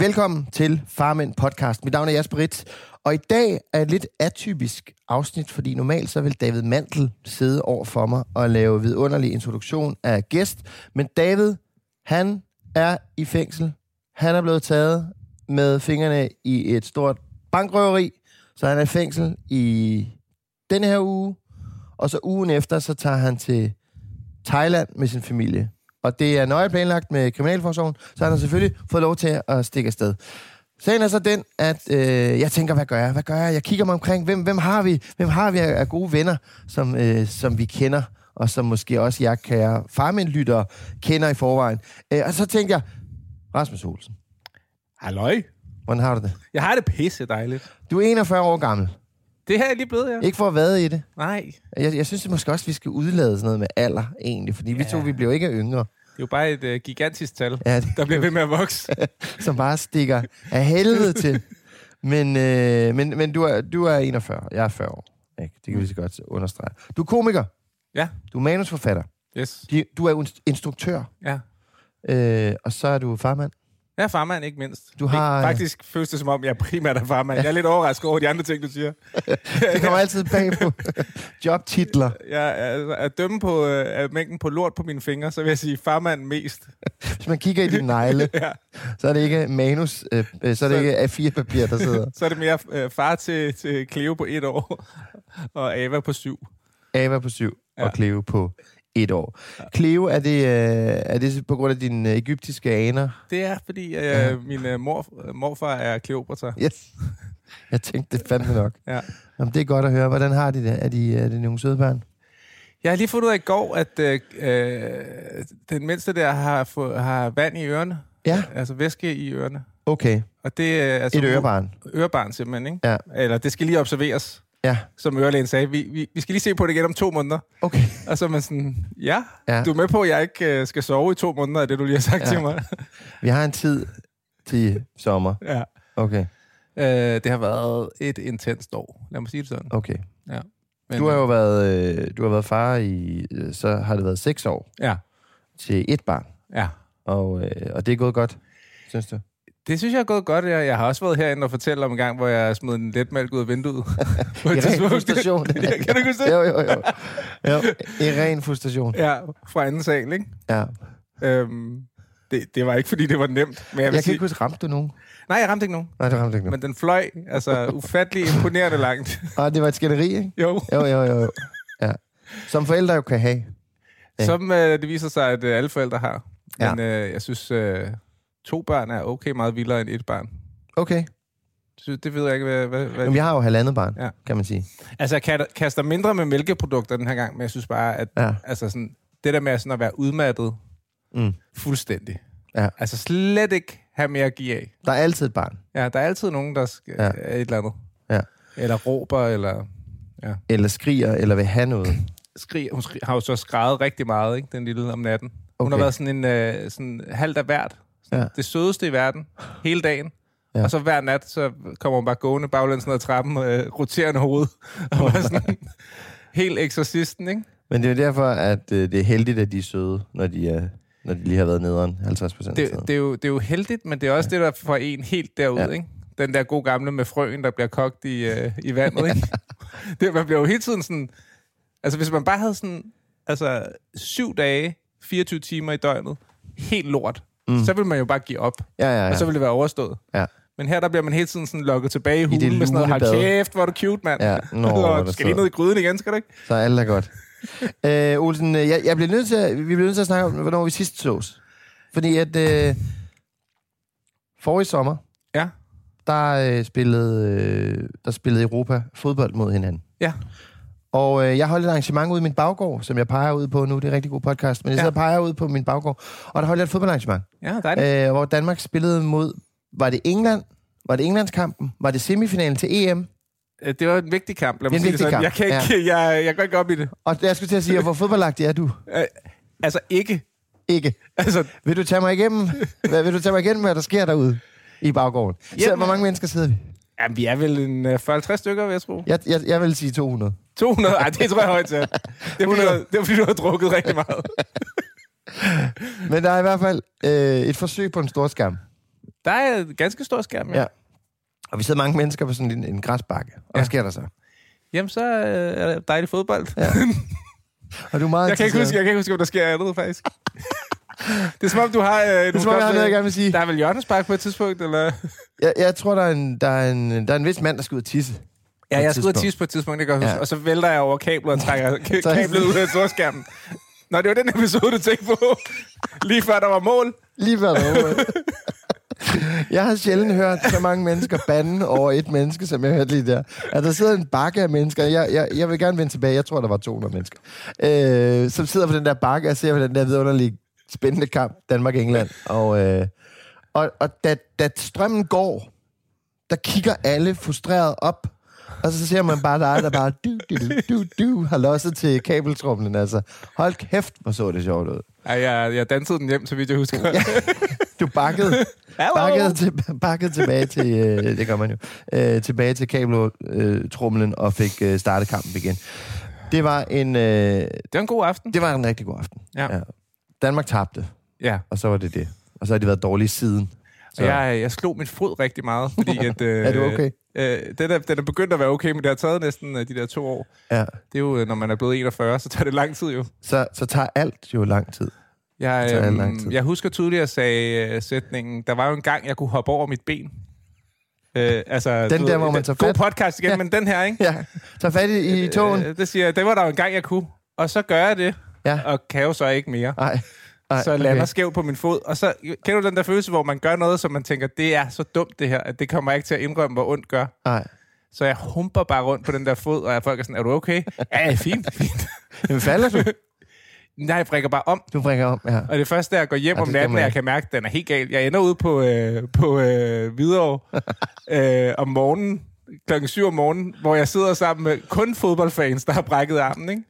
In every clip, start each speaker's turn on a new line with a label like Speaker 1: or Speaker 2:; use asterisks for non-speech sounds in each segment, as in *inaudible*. Speaker 1: Velkommen til Farmænd Podcast. Mit navn er Jasper Ritz, og i dag er et lidt atypisk afsnit, fordi normalt så vil David Mantel sidde over for mig og lave vidunderlig introduktion af gæst. Men David, han er i fængsel. Han er blevet taget med fingrene i et stort bankrøveri, så han er i fængsel i denne her uge. Og så ugen efter, så tager han til Thailand med sin familie. Og det er nøje planlagt med Kriminalforsorgen, så han har selvfølgelig fået lov til at stikke afsted. Sagen er så den, at øh, jeg tænker, hvad gør jeg? Hvad gør jeg? Jeg kigger mig omkring, hvem, hvem har vi? Hvem har vi af af gode venner, som, øh, som vi kender, og som måske også jeg, kære farmindlyttere, kender i forvejen. Øh, og så tænker jeg, Rasmus Olsen,
Speaker 2: Halløj.
Speaker 1: hvordan har du det?
Speaker 2: Jeg har det pisse dejligt.
Speaker 1: Du er 41 år gammel.
Speaker 2: Det her er lige blevet, ja.
Speaker 1: Ikke for at vade i det.
Speaker 2: Nej, det
Speaker 1: Jeg, jeg synes måske også, vi skal udlade sådan noget med alder, egentlig, fordi ja. vi to, vi bliver jo ikke yngre.
Speaker 2: er jo bare et uh, gigantisk tal,
Speaker 1: Ja, det-
Speaker 2: der bliver ved med at *laughs* vokse.
Speaker 1: som bare stikker af helvede til. Men, øh, men, men du, er, du er 41, jeg er 40 år. Ikke? Det kan vi så godt understrege. Du er komiker,
Speaker 2: ja,
Speaker 1: du er manusforfatter,
Speaker 2: yes.
Speaker 1: de- du er inst- instruktør,
Speaker 2: Ja.
Speaker 1: øh, og så er du farmand.
Speaker 2: Jeg er farmand, ikke mindst.
Speaker 1: Du har-
Speaker 2: Ikke, faktisk føles det som om, jeg primært er farmand. Jeg er lidt overrasket over de andre ting, du siger.
Speaker 1: Det
Speaker 2: *laughs*
Speaker 1: kommer altid bag på jobtitler.
Speaker 2: Jeg er, at dømme på øh, mængden på lort på mine fingre, så vil jeg sige farmand mest.
Speaker 1: Hvis man kigger i din negle,
Speaker 2: *laughs* Ja.
Speaker 1: så er det ikke manus, øh, øh, så er det
Speaker 2: Så-
Speaker 1: ikke A4-papir, der sidder.
Speaker 2: Så er det mere øh, far til, til Cleo på et år, *laughs* og Ava på syv.
Speaker 1: Ava på syv, ja.
Speaker 2: Ja.
Speaker 1: og Cleo på et år. Cleo, er det, øh, er det på grund af dine øh, egyptiske aner?
Speaker 2: Det er, fordi øh, min øh, mor, morfar er Cleopatra.
Speaker 1: Yes. Jeg tænkte det fandme nok.
Speaker 2: Ja.
Speaker 1: Jamen, det er godt at høre. Hvordan har de det? Er de, er de nogle søde børn?
Speaker 2: Jeg har lige fundet ud af i går, at øh, øh, den mindste der har, få, har vand i ørerne.
Speaker 1: Ja.
Speaker 2: Altså væske i ørerne.
Speaker 1: Okay.
Speaker 2: Og det er... Altså,
Speaker 1: Et ørebarn.
Speaker 2: Ørebarn simpelthen, ikke?
Speaker 1: Ja.
Speaker 2: Eller det skal lige observeres,
Speaker 1: Ja.
Speaker 2: som ørelægen sagde. Vi, vi, vi skal lige se på det igen om to måneder.
Speaker 1: Okay.
Speaker 2: Og så er man sådan, ja,
Speaker 1: Ja.
Speaker 2: ja. du er med på, at jeg ikke øh, skal sove i to måneder, af det du lige har sagt
Speaker 1: Ja.
Speaker 2: ja. til mig. *laughs*
Speaker 1: Vi har en tid til sommer.
Speaker 2: ja.
Speaker 1: Okay.
Speaker 2: Øh, det har været et intenst år, lad mig sige det sådan.
Speaker 1: Okay.
Speaker 2: Ja. Men,
Speaker 1: Du har jo været, øh, du har været far i... øh, Så har det været seks år
Speaker 2: øh, Ja,
Speaker 1: til et barn.
Speaker 2: ja.
Speaker 1: Og, øh, og det er gået godt, synes du?
Speaker 2: Det synes jeg er gået godt. Jeg, jeg har også været herinde og fortælle om en gang, hvor jeg smed en letmælk ud af
Speaker 1: *laughs*
Speaker 2: vinduet. På et
Speaker 1: I ren
Speaker 2: tidspunkt.
Speaker 1: frustration.
Speaker 2: *laughs* ja, kan du ikke huske det?
Speaker 1: Jo, jo, jo. jo. I ren frustration.
Speaker 2: Ja, fra anden sal, ikke?
Speaker 1: Ja.
Speaker 2: Øhm, det, det var ikke, fordi det var nemt. Men jeg, vil
Speaker 1: Jeg kan
Speaker 2: sige,
Speaker 1: ikke huske, ramte du nogen?
Speaker 2: Nej, jeg ramte ikke nogen.
Speaker 1: Nej, det ramte ikke nogen.
Speaker 2: Men den fløj,
Speaker 1: *laughs*
Speaker 2: altså ufattelig imponerende langt.
Speaker 1: Og det var et skænderi, ikke?
Speaker 2: jo.
Speaker 1: Jo, jo, jo. jo. Ja. Som forældre jo kan have.
Speaker 2: Som øh, det viser sig, at øh, alle forældre har.
Speaker 1: Ja.
Speaker 2: Men øh, jeg synes, øh, to børn er okay meget vildere end et barn.
Speaker 1: Okay.
Speaker 2: Så det ved jeg ikke, hvad... hvad, hvad
Speaker 1: Jamen, jeg har jo halvandet barn, ja.
Speaker 2: Ja.
Speaker 1: kan man sige.
Speaker 2: Altså, jeg kaster- kaster mindre med mælkeprodukter den her gang, men jeg synes bare, at
Speaker 1: Ja.
Speaker 2: ja. altså, sådan, det der med sådan at være udmattet
Speaker 1: Mm.
Speaker 2: fuldstændig.
Speaker 1: Ja.
Speaker 2: Altså slet ikke have mere at give af.
Speaker 1: Der er altid et barn.
Speaker 2: Ja, der er altid nogen, der skal,
Speaker 1: Ja.
Speaker 2: ja. er et eller andet.
Speaker 1: Ja.
Speaker 2: Eller råber, eller
Speaker 1: Eller skriger, eller vil have
Speaker 2: *clears throat*
Speaker 1: noget.
Speaker 2: skriger. Hun skri- har jo så skrevet rigtig meget, ikke, den lille om natten. Hun
Speaker 1: Okay.
Speaker 2: har været sådan en øh, sådan halvt af hvert.
Speaker 1: Ja.
Speaker 2: Det sødeste i verden, hele dagen. Ja. Og så hver nat, så kommer hun bare gående baglæns ned ad trappen, øh, roterende hoved. *laughs* Og bare sådan, helt eksorcisten, ikke?
Speaker 1: Men det er jo derfor, at øh, det er heldigt, at de er søde, når de, er, når de lige har været nederen 50 procent af
Speaker 2: det,
Speaker 1: tiden.
Speaker 2: det, er jo, det er jo heldigt, men det er også ja. det, der får en helt derud,
Speaker 1: Altså. Ja.
Speaker 2: ja. ikke? Den der gode gamle med frøen, der bliver kogt i, øh, i
Speaker 1: *laughs*
Speaker 2: vandet, ikke? Det, man bliver jo hele tiden sådan... Altså, hvis man bare havde sådan... Altså, syv dage, 24 timer i døgnet, helt lort, mm. så ville man jo bare give op.
Speaker 1: Ja, ja, ja.
Speaker 2: Og så ville det være overstået.
Speaker 1: Ja.
Speaker 2: Men her, der bliver man hele tiden sådan lukket tilbage i
Speaker 1: det
Speaker 2: hulen med sådan noget,
Speaker 1: lune
Speaker 2: hold
Speaker 1: bad."
Speaker 2: kæft, hvor er du cute, mand. *laughs*
Speaker 1: Ja, nå, hvor er
Speaker 2: og,
Speaker 1: du
Speaker 2: skal lige
Speaker 1: sød.
Speaker 2: ned i gryden igen, skal du ikke?
Speaker 1: Så alt er
Speaker 2: *laughs*
Speaker 1: godt. øh, Olsen, øh, jeg, jeg bliver nødt til at, vi bliver nødt til at snakke om, hvornår vi sidst sås. Fordi at øh, forrige sommer,
Speaker 2: Ja,
Speaker 1: der, øh, spillede, øh, der spillede Europa fodbold mod hinanden.
Speaker 2: ja,
Speaker 1: Og øh, jeg holdt et arrangement ude i min baggård, som jeg peger ud på nu. Det er en rigtig god podcast, men jeg
Speaker 2: Ja.
Speaker 1: sidder og peger ud på min baggård. Og der holdt jeg et fodboldarrangement,
Speaker 2: ja, dejligt.
Speaker 1: øh, hvor Danmark spillede mod... Var det England? Var det Englandskampen? Var det semifinalen til E EM?
Speaker 2: Øh, det var en vigtig kamp, lad
Speaker 1: det er
Speaker 2: mig
Speaker 1: en
Speaker 2: sige
Speaker 1: vigtig
Speaker 2: det sådan. Jeg,
Speaker 1: kamp,
Speaker 2: kan ikke, ja. *laughs* jeg, jeg går ikke op i det.
Speaker 1: Og jeg skulle til at sige, hvor fodboldagtig er du?
Speaker 2: Øh, altså ikke.
Speaker 1: Ikke.
Speaker 2: Altså,
Speaker 1: Vil du tage mig igennem, hvad, vil du tage mig igennem, hvad der sker derude i baggården? Så,
Speaker 2: Jamen. øh-
Speaker 1: hvor mange mennesker sidder vi?
Speaker 2: jamen, vi er vel en øh, 40-50 stykker, vil jeg tro.
Speaker 1: Jeg, jeg, jeg vil sige 200.
Speaker 2: 200? Ej, det tror jeg højt til. Det er, fordi, du har- det er fordi, du har drukket rigtig meget.
Speaker 1: Men der er i hvert fald øh, et forsøg på en stor skam.
Speaker 2: Der er en ganske stor skærm, ja.
Speaker 1: Ja. Og vi sidder mange mennesker på sådan en, en græsbakke. Og hvad sker der så?
Speaker 2: Jamen, så øh, er der dejlig fodbold. Ja.
Speaker 1: Og du er meget
Speaker 2: Jeg kan, ikke huske, jeg kan ikke huske, om der sker andet, faktisk. Det er som om, du har... Øh, det
Speaker 1: er som om, jeg har noget, jeg gerne vil sige.
Speaker 2: Der er vel hjørnespark på et tidspunkt, eller...
Speaker 1: Jeg, jeg tror, der er, en, der, er en, der er en vis mand, der skal ud og tisse.
Speaker 2: Ja, jeg skulle
Speaker 1: tidspunkt.
Speaker 2: tisse på et tidspunkt, det kan jeg huske.
Speaker 1: Ja.
Speaker 2: Ja. Og så vælter jeg over kablet og trækker ka-
Speaker 1: Så-
Speaker 2: kablet ud af storskærmen. Nå, det var den episode, du tænkte på. Lige før der var mål.
Speaker 1: Lige før derovre. *laughs* Jeg har sjældent hørt så mange mennesker bande over et menneske, som jeg hørte lige der. At der sidder en bakke af mennesker. Jeg, jeg, jeg vil gerne vende tilbage. Jeg tror, der var 200 mennesker. Øh, som sidder på den der bakke og ser på den der vidunderlige, spændende kamp. Danmark-England. Og, øh, og, og da, da strømmen går, der kigger alle frustreret op. Og så ser man bare dig, der bare du, du, du, du, du, har losset til kabeltrumlen. Altså, hold kæft, hvor så det sjovt ud.
Speaker 2: Ej, jeg, jeg dansede den hjem, så vidt jeg *laughs* husker.
Speaker 1: Du bakkede,
Speaker 2: Hallo.
Speaker 1: bakkede, til, bakkede tilbage til, øh, det gør man jo, øh, tilbage til kabeltrumlen øh, og fik øh, startet kampen igen. Det var en, øh,
Speaker 2: Det var en god aften.
Speaker 1: det var en rigtig god aften.
Speaker 2: Ja.
Speaker 1: Danmark tabte,
Speaker 2: Ja.
Speaker 1: og så var det det. Og så har de været dårlige siden. Så,
Speaker 2: Og jeg, jeg slog min fod rigtig meget,
Speaker 1: *laughs*
Speaker 2: fordi at... Øh,
Speaker 1: Er du okay?
Speaker 2: Øh, den, er, den er begyndt at være okay, men det har taget næsten øh, de der to år.
Speaker 1: ja.
Speaker 2: Det er jo, øh, når man er blevet 41, så tager det lang tid jo.
Speaker 1: så, så tager alt jo lang tid.
Speaker 2: Jeg,
Speaker 1: tager
Speaker 2: øhm,
Speaker 1: lang tid.
Speaker 2: jeg husker tydeligt, at jeg sagde øh, sætningen, der var jo en gang, jeg kunne hoppe over mit ben. Øh, altså,
Speaker 1: Den
Speaker 2: du
Speaker 1: der,
Speaker 2: ved,
Speaker 1: hvor man
Speaker 2: det-
Speaker 1: tager
Speaker 2: God
Speaker 1: fat.
Speaker 2: podcast igen,
Speaker 1: Ja.
Speaker 2: ja. men den her, ikke?
Speaker 1: Ja. Tag fat i, i togen.
Speaker 2: Øh, det siger jeg, det var der jo en gang, jeg kunne. Og så gør jeg det,
Speaker 1: Ja.
Speaker 2: og kan jo så ikke mere.
Speaker 1: Ej. Ej,
Speaker 2: så lander okay. skævt på min fod. Og så kender du den der følelse, hvor man gør noget, som man tænker, det er så dumt det her, at det kommer jeg ikke til at indrømme, hvor ondt gør.
Speaker 1: Nej.
Speaker 2: Så jeg humper bare rundt på den der fod, og folk er sådan, er du
Speaker 1: *laughs*
Speaker 2: okay? ja, ja, fint, fint.
Speaker 1: Jamen, falder du?
Speaker 2: *laughs* Nej, jeg brækker bare om.
Speaker 1: Du bringer om, ja.
Speaker 2: Og det første er at gå hjem
Speaker 1: Ja,
Speaker 2: ja, om
Speaker 1: det skal
Speaker 2: natten,
Speaker 1: man
Speaker 2: og jeg
Speaker 1: ikke.
Speaker 2: kan mærke, at den er helt galt. Jeg ender ude på, øh, på øh, Hvidovre
Speaker 1: *laughs*
Speaker 2: øh, om morgenen, klokken 7 om morgenen, hvor jeg sidder sammen med kun fodboldfans, der har brækket armen, ikke?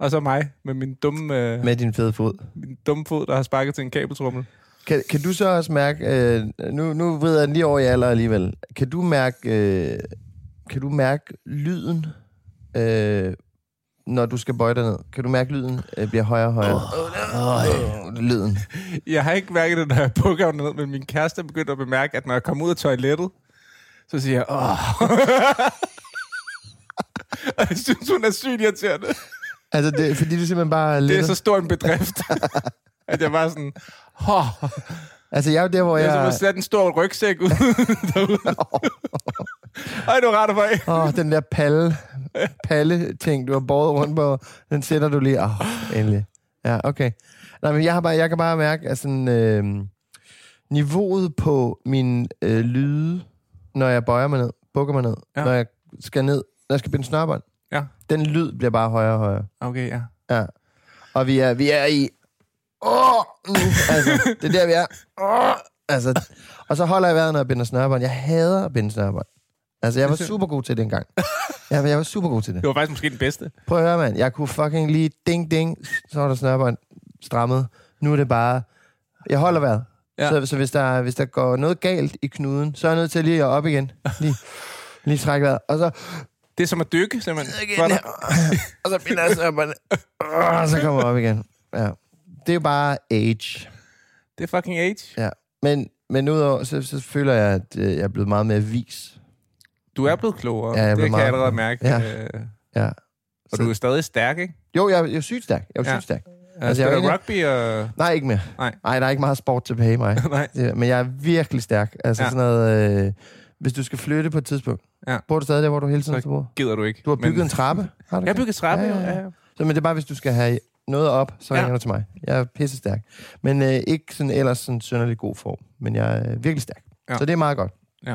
Speaker 2: Og så mig med min dumme, øh,
Speaker 1: Med din fede fod.
Speaker 2: min dumme fod, der har sparket til en kabeltrummel.
Speaker 1: Kan, kan du så også mærke, øh, nu, nu vrider jeg den lige over i alder alligevel, kan du mærke, øh, kan du mærke lyden, øh, når du skal bøje dig ned? Kan du mærke, lyden øh, bliver højere og højere? Oh, oh, lyden.
Speaker 2: Jeg har ikke mærket det, når jeg bukker ned, men min kæreste er begyndt at bemærke, at når jeg kommer ud af toilettet, så siger jeg, åh. Og jeg synes, hun er sygt irriterende.
Speaker 1: Altså, det, fordi det simpelthen bare
Speaker 2: Det er
Speaker 1: lidt...
Speaker 2: så stor
Speaker 1: *laughs*
Speaker 2: en bedrift, at jeg bare sådan, åh.
Speaker 1: Altså, jeg er jo der, hvor
Speaker 2: Det er som
Speaker 1: jeg...
Speaker 2: at sætte en stor rygsæk ud *laughs* derude. Ej, du retter mig af.
Speaker 1: Åh, oh, den der palle, palle-ting, du har båret rundt på, den sætter du lige. Åh, oh, endelig. Ja, okay. Nej, men jeg, har bare, jeg kan bare mærke, at sådan, øh, niveauet på min øh, lyde, når jeg bøjer mig ned, bukker mig ned, ja.
Speaker 2: Ja.
Speaker 1: når jeg skal ned, når jeg skal binde snørbånd,
Speaker 2: Ja,
Speaker 1: den lyd bliver bare højere og højere.
Speaker 2: okay, ja.
Speaker 1: Ja. Og vi er, vi er i... Åh, nu, altså, det er der, vi er. Åh, altså, og så holder jeg vejret, når jeg binder snørbånd. Jeg hader at binde snørbånd. Altså, jeg var super god til det engang. Jeg, jeg var super god til det.
Speaker 2: Det var faktisk måske den bedste.
Speaker 1: Prøv at høre, mand. Jeg kunne fucking lige ding, ding. Så var der snørbånd strammet. Nu er det bare... Jeg holder vejret.
Speaker 2: Ja.
Speaker 1: Ja. Så, så hvis, der, hvis der går noget galt i knuden, så er jeg nødt til lige at op igen. Lige, lige trække vejret. Og så...
Speaker 2: Det er som at dykke, simpelthen. For dig.
Speaker 1: *laughs* og så binder jeg sig, og så kommer jeg op igen. Ja. Det er jo bare age.
Speaker 2: Det er fucking age.
Speaker 1: Ja. Men, men udover, så, så føler jeg, at øh, jeg er blevet meget mere vis.
Speaker 2: Du er blevet klogere.
Speaker 1: Ja, jeg er
Speaker 2: det
Speaker 1: blevet
Speaker 2: kan jeg
Speaker 1: meget-
Speaker 2: allerede mærke.
Speaker 1: Ja.
Speaker 2: Øh,
Speaker 1: Ja.
Speaker 2: Og
Speaker 1: Så-
Speaker 2: du er stadig stærk, ikke?
Speaker 1: Jo, jeg, jeg er sygt stærk. Jeg er
Speaker 2: Ja.
Speaker 1: ja. sygt stærk.
Speaker 2: Altså,
Speaker 1: jeg er jo
Speaker 2: spiller
Speaker 1: ikke-
Speaker 2: rugby og...
Speaker 1: Nej, ikke mere.
Speaker 2: Nej.
Speaker 1: Nej, der er ikke meget sport tilbage i mig.
Speaker 2: *laughs* Nej.
Speaker 1: Det, men jeg er virkelig stærk. Altså
Speaker 2: Ja.
Speaker 1: ja. sådan noget... Øh, hvis du skal flytte på et tidspunkt,
Speaker 2: Ja.
Speaker 1: bor du stadig der, hvor du hele tiden
Speaker 2: Så-
Speaker 1: bor?
Speaker 2: Gider du ikke.
Speaker 1: Du har bygget
Speaker 2: Men-
Speaker 1: en trappe, har du
Speaker 2: Jeg
Speaker 1: ikke?
Speaker 2: bygger trappe,
Speaker 1: Ja,
Speaker 2: ja,
Speaker 1: ja,
Speaker 2: ja.
Speaker 1: ja. Så, men det er bare, hvis du skal have noget op, så
Speaker 2: Ja.
Speaker 1: ringer du til mig. Jeg er pisse stærk. Men øh, ikke sådan ellers sådan synderlig god form. Men jeg er øh, virkelig stærk.
Speaker 2: Ja.
Speaker 1: Ja. Så det er meget godt.
Speaker 2: ja.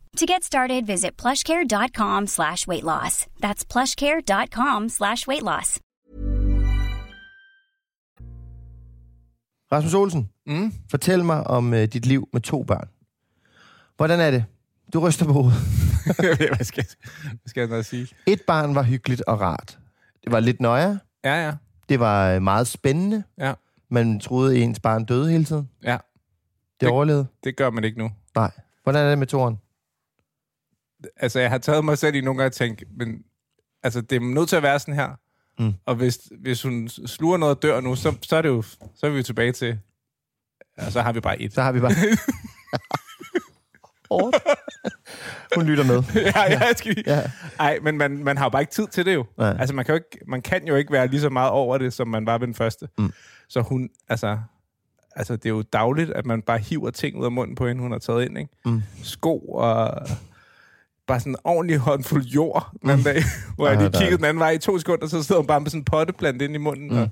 Speaker 3: To get started, visit plushcare.com slash weight loss. That's plushcare.com slash weight loss.
Speaker 1: Rasmus Olsen,
Speaker 2: Mm.
Speaker 1: fortæl mig om øh, dit liv med to børn. Hvordan er det? Du ryster på hovedet.
Speaker 2: *laughs* hvad, skal, hvad skal jeg noget sige?
Speaker 1: Et barn var hyggeligt og rart. Det var lidt nøje.
Speaker 2: Ja, ja.
Speaker 1: Det var øh, meget spændende.
Speaker 2: Ja.
Speaker 1: Man troede, ens barn døde hele tiden.
Speaker 2: Ja,
Speaker 1: Det
Speaker 2: Det-
Speaker 1: overlevede.
Speaker 2: det gør man ikke nu.
Speaker 1: Nej. Hvordan er det med toren?
Speaker 2: Altså, jeg har taget mig selv i nogle gange og tænkt, men altså, det er nødt til at være sådan her. Mm. Og hvis, hvis hun sluger noget og dør nu, så, så er det jo, så er vi jo tilbage til, og så har vi bare et.
Speaker 1: Så har vi bare... Hårdt. Hun lytter med.
Speaker 2: *laughs* ja, ja, jeg skal lige.
Speaker 1: Ja.
Speaker 2: Ej, men man, man har jo bare ikke tid til det jo.
Speaker 1: Nej.
Speaker 2: Altså, man kan jo, ikke, man kan jo ikke være lige så meget over det, som man var ved den første. Mm. Så hun, altså, altså, det er jo dagligt, at man bare hiver ting ud af munden på hende, hun har taget ind, ikke? Mm. Sko og bare sådan en ordentlig håndfuld jord den anden dag, *laughs* hvor jeg
Speaker 1: Ah,
Speaker 2: lige
Speaker 1: der er-
Speaker 2: kiggede den anden vej i to sekunder, så sidder hun bare med sådan en potteplante ind i munden. Mm. Og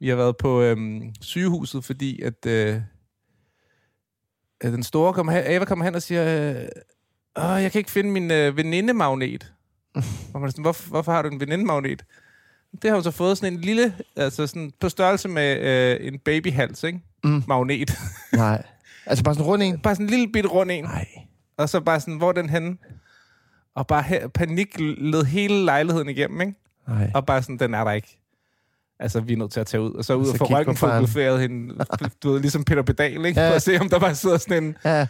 Speaker 2: vi har været på øhm, sygehuset, fordi at, øh, at den store kommer hen, Ava kommer hen og siger, øh, Åh, jeg kan ikke finde min øh, venindemagnet. Og man er sådan, hvorfor, hvorfor har du en venindemagnet? Det har hun så fået sådan en lille, altså sådan på størrelse med øh, en babyhals, ikke? Mm. Magnet. *laughs*
Speaker 1: Nej. Altså bare sådan en rund en.
Speaker 2: bare sådan en lille bit rund en.
Speaker 1: Nej.
Speaker 2: Og så bare sådan, hvor er den henne? Og bare her, panik led hele lejligheden igennem, ikke?
Speaker 1: Nej.
Speaker 2: Og bare sådan, den er der ikke. Altså, vi er nødt til at tage ud. Og så ud
Speaker 1: Så
Speaker 2: og få
Speaker 1: kig på
Speaker 2: røntgenfotograferet hende, du ved, ligesom Peter Pedal, ikke?
Speaker 1: Ja.
Speaker 2: For at se, om der bare sidder sådan en
Speaker 1: Ja,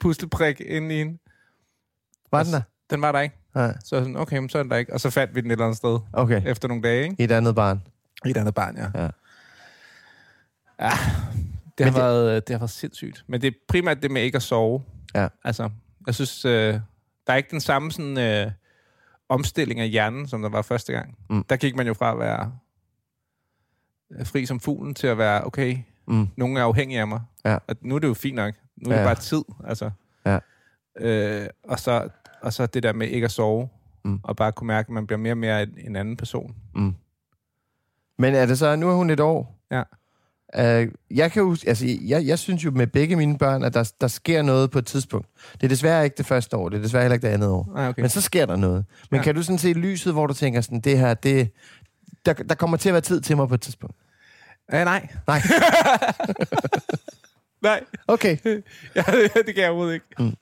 Speaker 2: pusleprik inde i hende. Altså,
Speaker 1: var den der?
Speaker 2: Den var der ikke.
Speaker 1: Nej.
Speaker 2: Så er jeg sådan, okay, men så er den der ikke. Og så fandt vi den et eller andet sted
Speaker 1: Okay.
Speaker 2: efter nogle dage, ikke?
Speaker 1: Et andet barn.
Speaker 2: I et andet barn, ja.
Speaker 1: Ja.
Speaker 2: ja det, har
Speaker 1: det-
Speaker 2: været, øh, det har været sindssygt. Men det er primært det med ikke at sove.
Speaker 1: Ja.
Speaker 2: Altså, jeg synes, øh, der er ikke den samme sådan, øh, omstilling af hjernen, som der var første gang. Mm. Der gik man jo fra at være øh, fri som fuglen til at være, okay, mm. nogen er afhængige af mig.
Speaker 1: Ja.
Speaker 2: Og nu er det jo fint nok. Nu er ja.
Speaker 1: Ja.
Speaker 2: det bare tid, altså.
Speaker 1: Ja.
Speaker 2: Øh, og, så, og så det der med ikke at sove, mm.
Speaker 1: Mm.
Speaker 2: og bare kunne mærke, at man bliver mere og mere en, en anden person.
Speaker 1: Men er det så, nu er hun et år.
Speaker 2: Ja.
Speaker 1: Øh, jeg kan jo, altså, jeg, jeg synes jo med begge mine børn, at der, der sker noget på et tidspunkt. Det er desværre ikke det første år, det er desværre heller ikke det andet år.
Speaker 2: Ah, okay.
Speaker 1: Men så sker der noget. Men
Speaker 2: Ja.
Speaker 1: ja. kan du sådan se lyset, hvor du tænker sådan, det her, det, der, der kommer til at være tid til mig på et tidspunkt?
Speaker 2: Øh, nej.
Speaker 1: Nej.
Speaker 2: *laughs* Nej.
Speaker 1: Okay.
Speaker 2: ja, det kan jeg overhovedet ikke. Mm.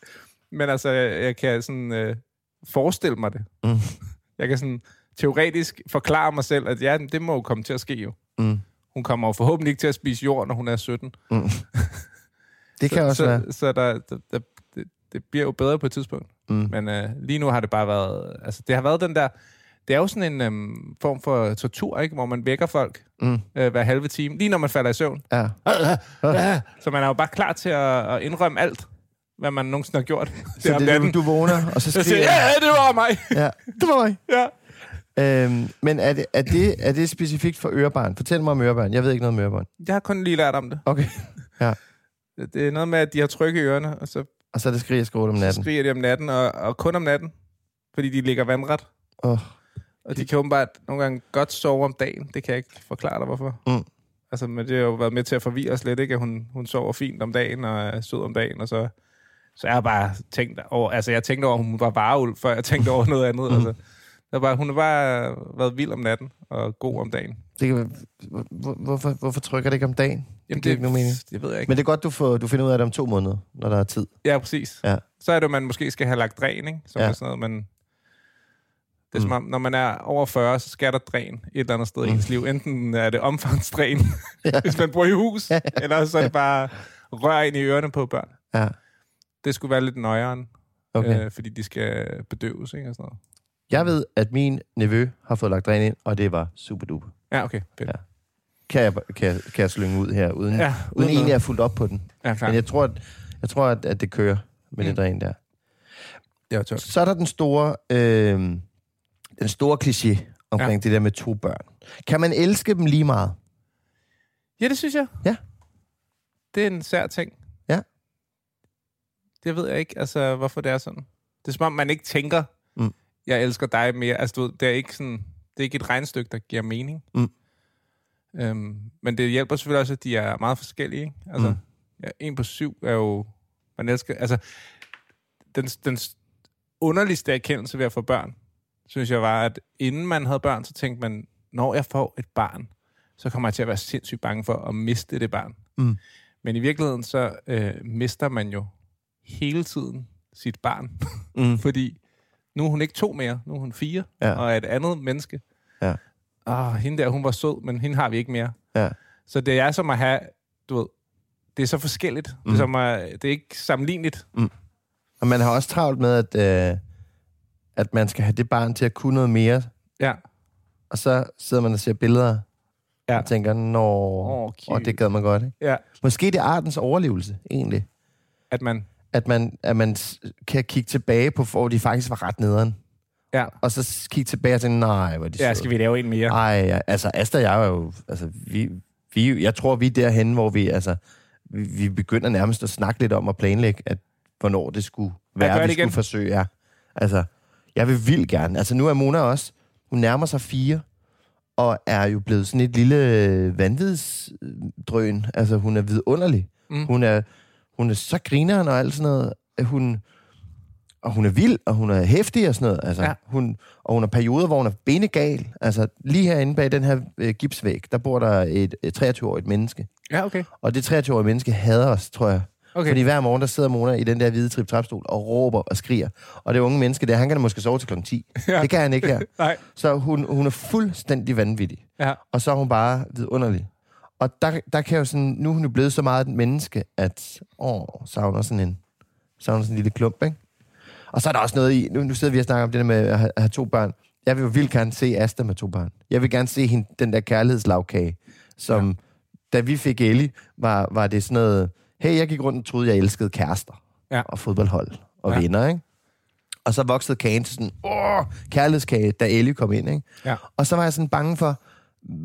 Speaker 2: Men altså, jeg, jeg kan sådan øh, forestille mig det. Mm. Jeg kan sådan teoretisk forklare mig selv, at ja, det må jo komme til at ske jo.
Speaker 1: Mm.
Speaker 2: Hun kommer jo forhåbentlig ikke til at spise jord, når hun er 17.
Speaker 1: Det kan
Speaker 2: så,
Speaker 1: også
Speaker 2: så,
Speaker 1: være.
Speaker 2: Så der, der, der, det, det bliver jo bedre på et tidspunkt. Mm. Men øh, lige nu har det bare været... Altså, det har været den der... Det er jo sådan en øhm, form for tortur, ikke? hvor man vækker folk mm. øh, hver halve time, lige når man falder i søvn.
Speaker 1: *laughs* Ja.
Speaker 2: Så man er jo bare klar til at, at indrømme alt, hvad man nogensinde har gjort.
Speaker 1: Så det, er det, du vågner, *laughs* og så
Speaker 2: jeg siger,
Speaker 1: skriver...
Speaker 2: ja, ja, det var mig. *laughs*
Speaker 1: ja. Det var mig.
Speaker 2: ja.
Speaker 1: Øhm, men er det, er, det, er det specifikt for ørebørn? Fortæl mig om ørebørn. Jeg ved ikke noget om ørebørn.
Speaker 2: Jeg har kun lige lært om det.
Speaker 1: Okay. Ja.
Speaker 2: Det er noget med, at de har tryk i ørerne, og så
Speaker 1: Og så er det skrig og skrål om natten.
Speaker 2: skriger de om natten, og, og kun om natten, fordi de ligger vandret.
Speaker 1: Åh.
Speaker 2: Og de kan åbenbart nogle gange godt sove om dagen. Det kan jeg ikke forklare dig, hvorfor.
Speaker 1: Mm.
Speaker 2: Altså, men det har jo været med til at forvirre os lidt, ikke? At hun, hun sover fint om dagen og er sød om dagen, og så... Så jeg har bare tænkt over... Altså, jeg tænkte over, at hun var vareulv, før jeg tænkte over noget
Speaker 1: Mm.
Speaker 2: andet. Altså, der bare, hun har bare været vild om natten og god om dagen.
Speaker 1: Det kan, hvor, hvorfor, hvorfor trykker det ikke om dagen? det giver ikke nogen mening.
Speaker 2: Det ved jeg ikke.
Speaker 1: Men det er godt, du, får, du finder ud af det om to måneder, når der er tid.
Speaker 2: Ja, præcis.
Speaker 1: Ja.
Speaker 2: Så er det, at man måske skal have lagt dræn, ikke? Som
Speaker 1: Ja. Mm.
Speaker 2: ja. er sådan noget, man... Det er som om, når man er over 40, så skal der dræn et eller andet sted i ens liv. Enten er det
Speaker 1: *laughs*
Speaker 2: omfangsdræn, ja. *laughs* hvis man bor i hus, eller så er det bare rør ind i ørerne på børn.
Speaker 1: Ja.
Speaker 2: Det skulle være lidt nøjeren,
Speaker 1: Okay.
Speaker 2: øh, fordi de skal bedøves, ikke? Og sådan noget.
Speaker 1: Jeg ved, at min nevø har fået lagt dræn ind, og det var super duper.
Speaker 2: Ja, okay. Fedt.
Speaker 1: Ja. Kan jeg, kan, jeg- kan jeg slynge ud her, uden, ja,
Speaker 2: Ja,
Speaker 1: uden,
Speaker 2: uden
Speaker 1: uden egentlig
Speaker 2: noget.
Speaker 1: at have fulgt op på den.
Speaker 2: Ja, klart.
Speaker 1: Men jeg tror, at, jeg tror, at, at det kører med mm. det dræn der.
Speaker 2: Det var tørt.
Speaker 1: Så er der den store, øh, den store kliché omkring ja. det der med to børn. Kan man elske dem lige meget?
Speaker 2: Ja, det synes jeg.
Speaker 1: Ja.
Speaker 2: Det er en sær ting.
Speaker 1: Ja.
Speaker 2: Det ved jeg ikke, altså, hvorfor det er sådan. Det er som om, man ikke tænker,
Speaker 1: Mm.
Speaker 2: mm. jeg elsker dig mere. Altså, du ved, det er ikke sådan, det er ikke et regnstykke, der giver mening.
Speaker 1: Mm.
Speaker 2: Øhm, men det hjælper selvfølgelig også, at de er meget forskellige. ikke? Altså, mm. ja, en på syv er jo, man elsker, altså, den, den underligste erkendelse ved at få børn, synes jeg var, at inden man havde børn, så tænkte man, når jeg får et barn, så kommer jeg til at være sindssygt bange for at miste det barn.
Speaker 1: Mm.
Speaker 2: Men i virkeligheden, så øh, mister man jo hele tiden sit barn.
Speaker 1: Mm.
Speaker 2: *laughs* Fordi nu er hun ikke to mere, nu er hun fire,
Speaker 1: Ja.
Speaker 2: ja. og er et andet menneske.
Speaker 1: Ja.
Speaker 2: Og hende der, hun var sød, men hende har vi ikke mere.
Speaker 1: Ja.
Speaker 2: Så det er som at have, du ved, det er så forskelligt. Mm. Det, er som at, det er ikke sammenligneligt.
Speaker 1: Mm. Og man har også travlt med, at, øh, at man skal have det barn til at kunne noget mere.
Speaker 2: Ja.
Speaker 1: Og så sidder man og ser billeder
Speaker 2: Ja.
Speaker 1: og tænker, nå,
Speaker 2: Åh,
Speaker 1: oh,
Speaker 2: cute.
Speaker 1: og det gad man godt, ikke?
Speaker 2: ja.
Speaker 1: Måske det er artens overlevelse, egentlig.
Speaker 2: At man,
Speaker 1: At man, at man s- kan kigge tilbage på, hvor de faktisk var ret nederen.
Speaker 2: ja,
Speaker 1: Og så s- kigge tilbage og tænke, nej, hvor er de
Speaker 2: ja
Speaker 1: søde."
Speaker 2: skal vi lave en mere?
Speaker 1: Ej, ja, altså Asta og jeg er jo... Altså, vi, vi, jeg tror, vi er derhen, hvor vi, altså, vi, vi begynder nærmest at snakke lidt om at planlægge, at hvornår det skulle være,
Speaker 2: gør
Speaker 1: vi
Speaker 2: det igen.
Speaker 1: skulle forsøge. Ja. Altså, jeg vil vildt gerne. Altså, nu er Mona også... Hun nærmer sig fire, og er jo blevet sådan et lille øh, vanvidsdrøn. Altså, hun er vidunderlig. Mm. Hun, er, hun er så grineren og alt sådan noget. Hun, og hun er vild, og hun er hæftig og sådan noget. Altså, ja.
Speaker 2: Ja.
Speaker 1: hun, og hun har perioder, hvor hun er benegal. Altså, lige herinde bag den her øh, gipsvæg, der bor der et, et 23-årigt menneske.
Speaker 2: Ja, okay.
Speaker 1: Og det 23-årige menneske hader os, tror jeg. Okay.
Speaker 2: Okay.
Speaker 1: Fordi hver morgen, der sidder Mona i den der hvide trip trapstol og råber og skriger. Og det unge menneske der, han kan da måske sove til klokken 10. Ja.
Speaker 2: Ja.
Speaker 1: Det kan han ikke her.
Speaker 2: *laughs* Nej.
Speaker 1: Så hun, hun er fuldstændig vanvittig.
Speaker 2: Ja.
Speaker 1: Og så er hun bare vidunderlig. Og der, der kan jeg jo sådan, nu er hun jo blevet så meget et menneske, at åh, savner sådan en, savner sådan en lille klump, ikke? Og så er der også noget i, nu, nu sidder vi og snakker om det der med at have, at have to børn. Jeg vil jo vildt gerne se Asta med to børn. Jeg vil gerne se hende, den der kærlighedslagkage, som ja. da vi fik Ellie, var, var det sådan noget, hey, jeg gik rundt og troede, jeg elskede kærester
Speaker 2: Ja.
Speaker 1: og fodboldhold og ja.
Speaker 2: Ja.
Speaker 1: venner, ikke? Og så voksede kagen til sådan, åh, kærlighedskage, da Ellie kom ind, ikke?
Speaker 2: Ja.
Speaker 1: Og så var jeg sådan bange for,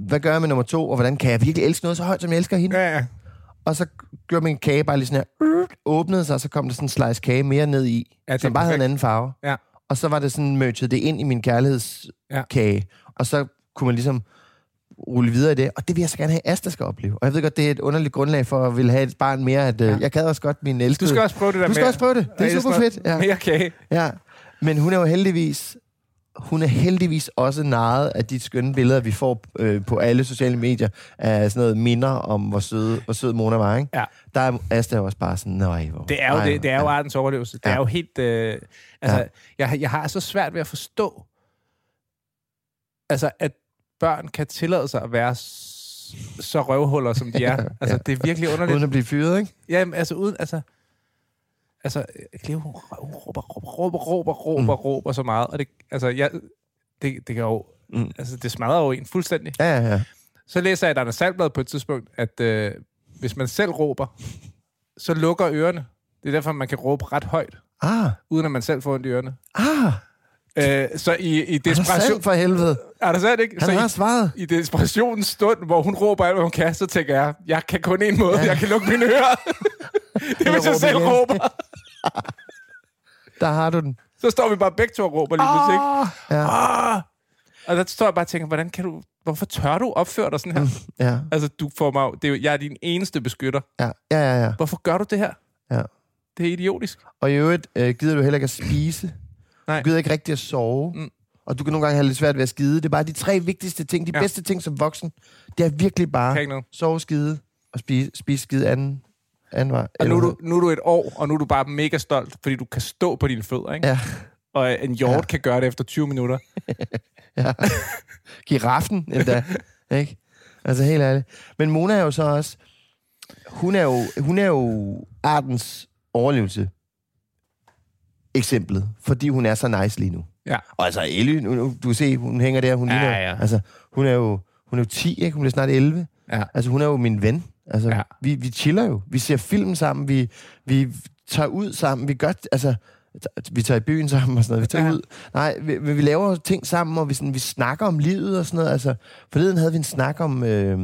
Speaker 1: hvad gør jeg med nummer to, og hvordan kan jeg virkelig elske noget så højt, som jeg elsker hende?
Speaker 2: Ja, ja.
Speaker 1: Og så gjorde min kage bare lige sådan her, øh, åbnede sig, og så kom der sådan en slice kage mere ned i,
Speaker 2: Ja,
Speaker 1: ja,
Speaker 2: det
Speaker 1: som
Speaker 2: er
Speaker 1: bare havde en
Speaker 2: perfekt.
Speaker 1: anden farve.
Speaker 2: Ja.
Speaker 1: Og så var det sådan, merged det ind i min kærlighedskage, ja. og så kunne man ligesom rulle videre i det, og det vil jeg så gerne have, Asta skal opleve. Og jeg ved godt, det er et underligt grundlag for at ville have et barn mere, at øh, jeg gad også godt min elskede.
Speaker 2: Du skal også prøve det der
Speaker 1: Øh. Du skal
Speaker 2: med-
Speaker 1: også prøve det. Det er
Speaker 2: *laughs* Ja,
Speaker 1: super fedt. Ja.
Speaker 2: Mere kage.
Speaker 1: Ja, men hun er jo heldigvis hun er heldigvis også naret af de skønne billeder, vi får øh, på alle sociale medier, af sådan noget minder om, hvor sød, hvor sød Mona var, ikke?
Speaker 2: Ja.
Speaker 1: Der er Asta jo også bare sådan, nej, hvor...
Speaker 2: Det er jo,
Speaker 1: nej,
Speaker 2: det, det er jo artens overlevelse. Det
Speaker 1: Ja.
Speaker 2: er jo helt... Øh, altså, jeg, jeg har så svært ved at forstå, altså, at børn kan tillade sig at være s- så røvhuller,
Speaker 1: *laughs*
Speaker 2: som de er. Altså, det er virkelig
Speaker 1: Uden
Speaker 2: underligt.
Speaker 1: at blive fyret, ikke?
Speaker 2: Jamen, altså, uden... Altså, altså, Cleo, hun, rø- hun råber, råber, råber, råber, råber, mm. råber så meget. Og det, altså, jeg, det, det kan jo... Mm. Altså, det smadrer jo en fuldstændig.
Speaker 1: Ja, ja, ja.
Speaker 2: Så læser jeg, at Anders Salblad på et tidspunkt, at øh, hvis man selv råber, så lukker ørerne. Det er derfor, man kan råbe ret højt,
Speaker 1: Ah,
Speaker 2: uden at man selv får ondt i ørerne.
Speaker 1: ah.
Speaker 2: Øh, så i, i
Speaker 1: Det er
Speaker 2: desperation...
Speaker 1: selv for helvede.
Speaker 2: Er der sandt, ikke?
Speaker 1: Han har svaret.
Speaker 2: I, I desperationens stund, hvor hun råber alt, hvad hun kan, så tænker jeg, jeg kan kun en måde, jeg kan lukke mine
Speaker 1: *laughs*
Speaker 2: ører. det er, hvis jeg
Speaker 1: råbe
Speaker 2: selv
Speaker 1: igen.
Speaker 2: råber.
Speaker 1: Der har du den.
Speaker 2: Så står vi bare begge to og råber lige pludselig, ikke? Ah.
Speaker 1: Ja,
Speaker 2: Og der står jeg bare og tænker, hvordan kan du, hvorfor tør du opføre dig sådan
Speaker 1: Mm.
Speaker 2: her?
Speaker 1: ja,
Speaker 2: altså, du får mig, jo- det er, jo- jeg er din eneste beskytter.
Speaker 1: ja, ja, ja. ja.
Speaker 2: Hvorfor gør du det her?
Speaker 1: ja.
Speaker 2: Det er idiotisk.
Speaker 1: Og i øvrigt øh, gider du heller ikke at spise.
Speaker 2: Nej.
Speaker 1: Du gider ikke rigtig at sove. Mm. Og du kan nogle gange have lidt svært ved at skide. Det er bare de tre vigtigste ting, de ja. bedste ting som voksen. Det er virkelig
Speaker 2: Kan
Speaker 1: bare
Speaker 2: ikke noget.
Speaker 1: sove, skide og spise, spise skide anden, anden vej.
Speaker 2: Og nu er,
Speaker 1: Eller-
Speaker 2: du, nu er du et år, og nu er du bare mega stolt, fordi du kan stå på dine fødder, ikke?
Speaker 1: Ja.
Speaker 2: Og en hjort ja. kan gøre det efter 20 minutter.
Speaker 1: Giraffen
Speaker 2: *laughs*
Speaker 1: endda. ikke? Altså helt ærligt. Men Mona er jo så også... Hun er jo, hun er jo artens overlevelse eksemplet, fordi hun er så nice lige nu.
Speaker 2: Ja.
Speaker 1: Og altså Elly, nu- nu, du kan se, hun hænger der, hun
Speaker 2: Ja,
Speaker 1: ligner,
Speaker 2: ja.
Speaker 1: Altså, hun er jo hun er jo 10, ikke? Hun bliver snart 11.
Speaker 2: Ja.
Speaker 1: Altså, hun er jo min ven. Altså,
Speaker 2: Ja.
Speaker 1: ja. vi, vi chiller jo. Vi ser film sammen, vi, vi tager ud sammen, vi gør, altså, t- vi tager i byen sammen og sådan noget. Vi tager
Speaker 2: Ja.
Speaker 1: ja. ud. Nej, vi, vi vi laver ting sammen, og vi, sådan, vi snakker om livet og sådan noget. Altså, forleden havde vi en snak om, øh,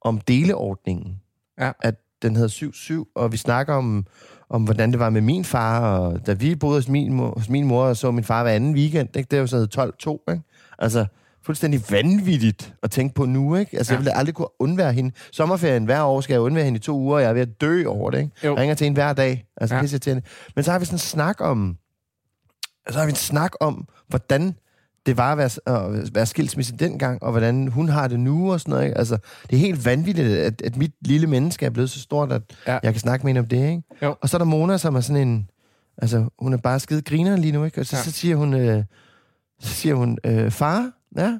Speaker 1: om deleordningen.
Speaker 2: Ja.
Speaker 1: At den hedder 7-7, og vi snakker om, om, hvordan det var med min far, og da vi boede hos min, mor, hos min mor og så min far hver anden weekend, ikke? det er jo sådan noget 12-2, ikke? Altså, fuldstændig vanvittigt at tænke på nu, ikke? Altså, ja. jeg ville aldrig kunne undvære hende. Sommerferien hver år skal jeg undvære hende i to uger, og jeg er ved at dø over det, ikke?
Speaker 2: Jo.
Speaker 1: Jeg ringer til hende hver dag, altså
Speaker 2: Ja.
Speaker 1: ja. til hende. Men så har vi sådan en snak om, så har vi en snak om, hvordan det var at være, at være skilsmisse dengang, og hvordan hun har det nu og sådan noget. Ikke? Altså, det er helt vanvittigt, at, at mit lille menneske er blevet så stort, at
Speaker 2: Ja.
Speaker 1: ja. jeg kan snakke med hende om det. Ikke?
Speaker 2: Jo.
Speaker 1: Og så er der Mona, som er sådan en... Altså, hun er bare skide griner lige nu, ikke? Og så,
Speaker 2: Ja.
Speaker 1: ja. så siger hun... Øh, så siger hun, øh, far, ja,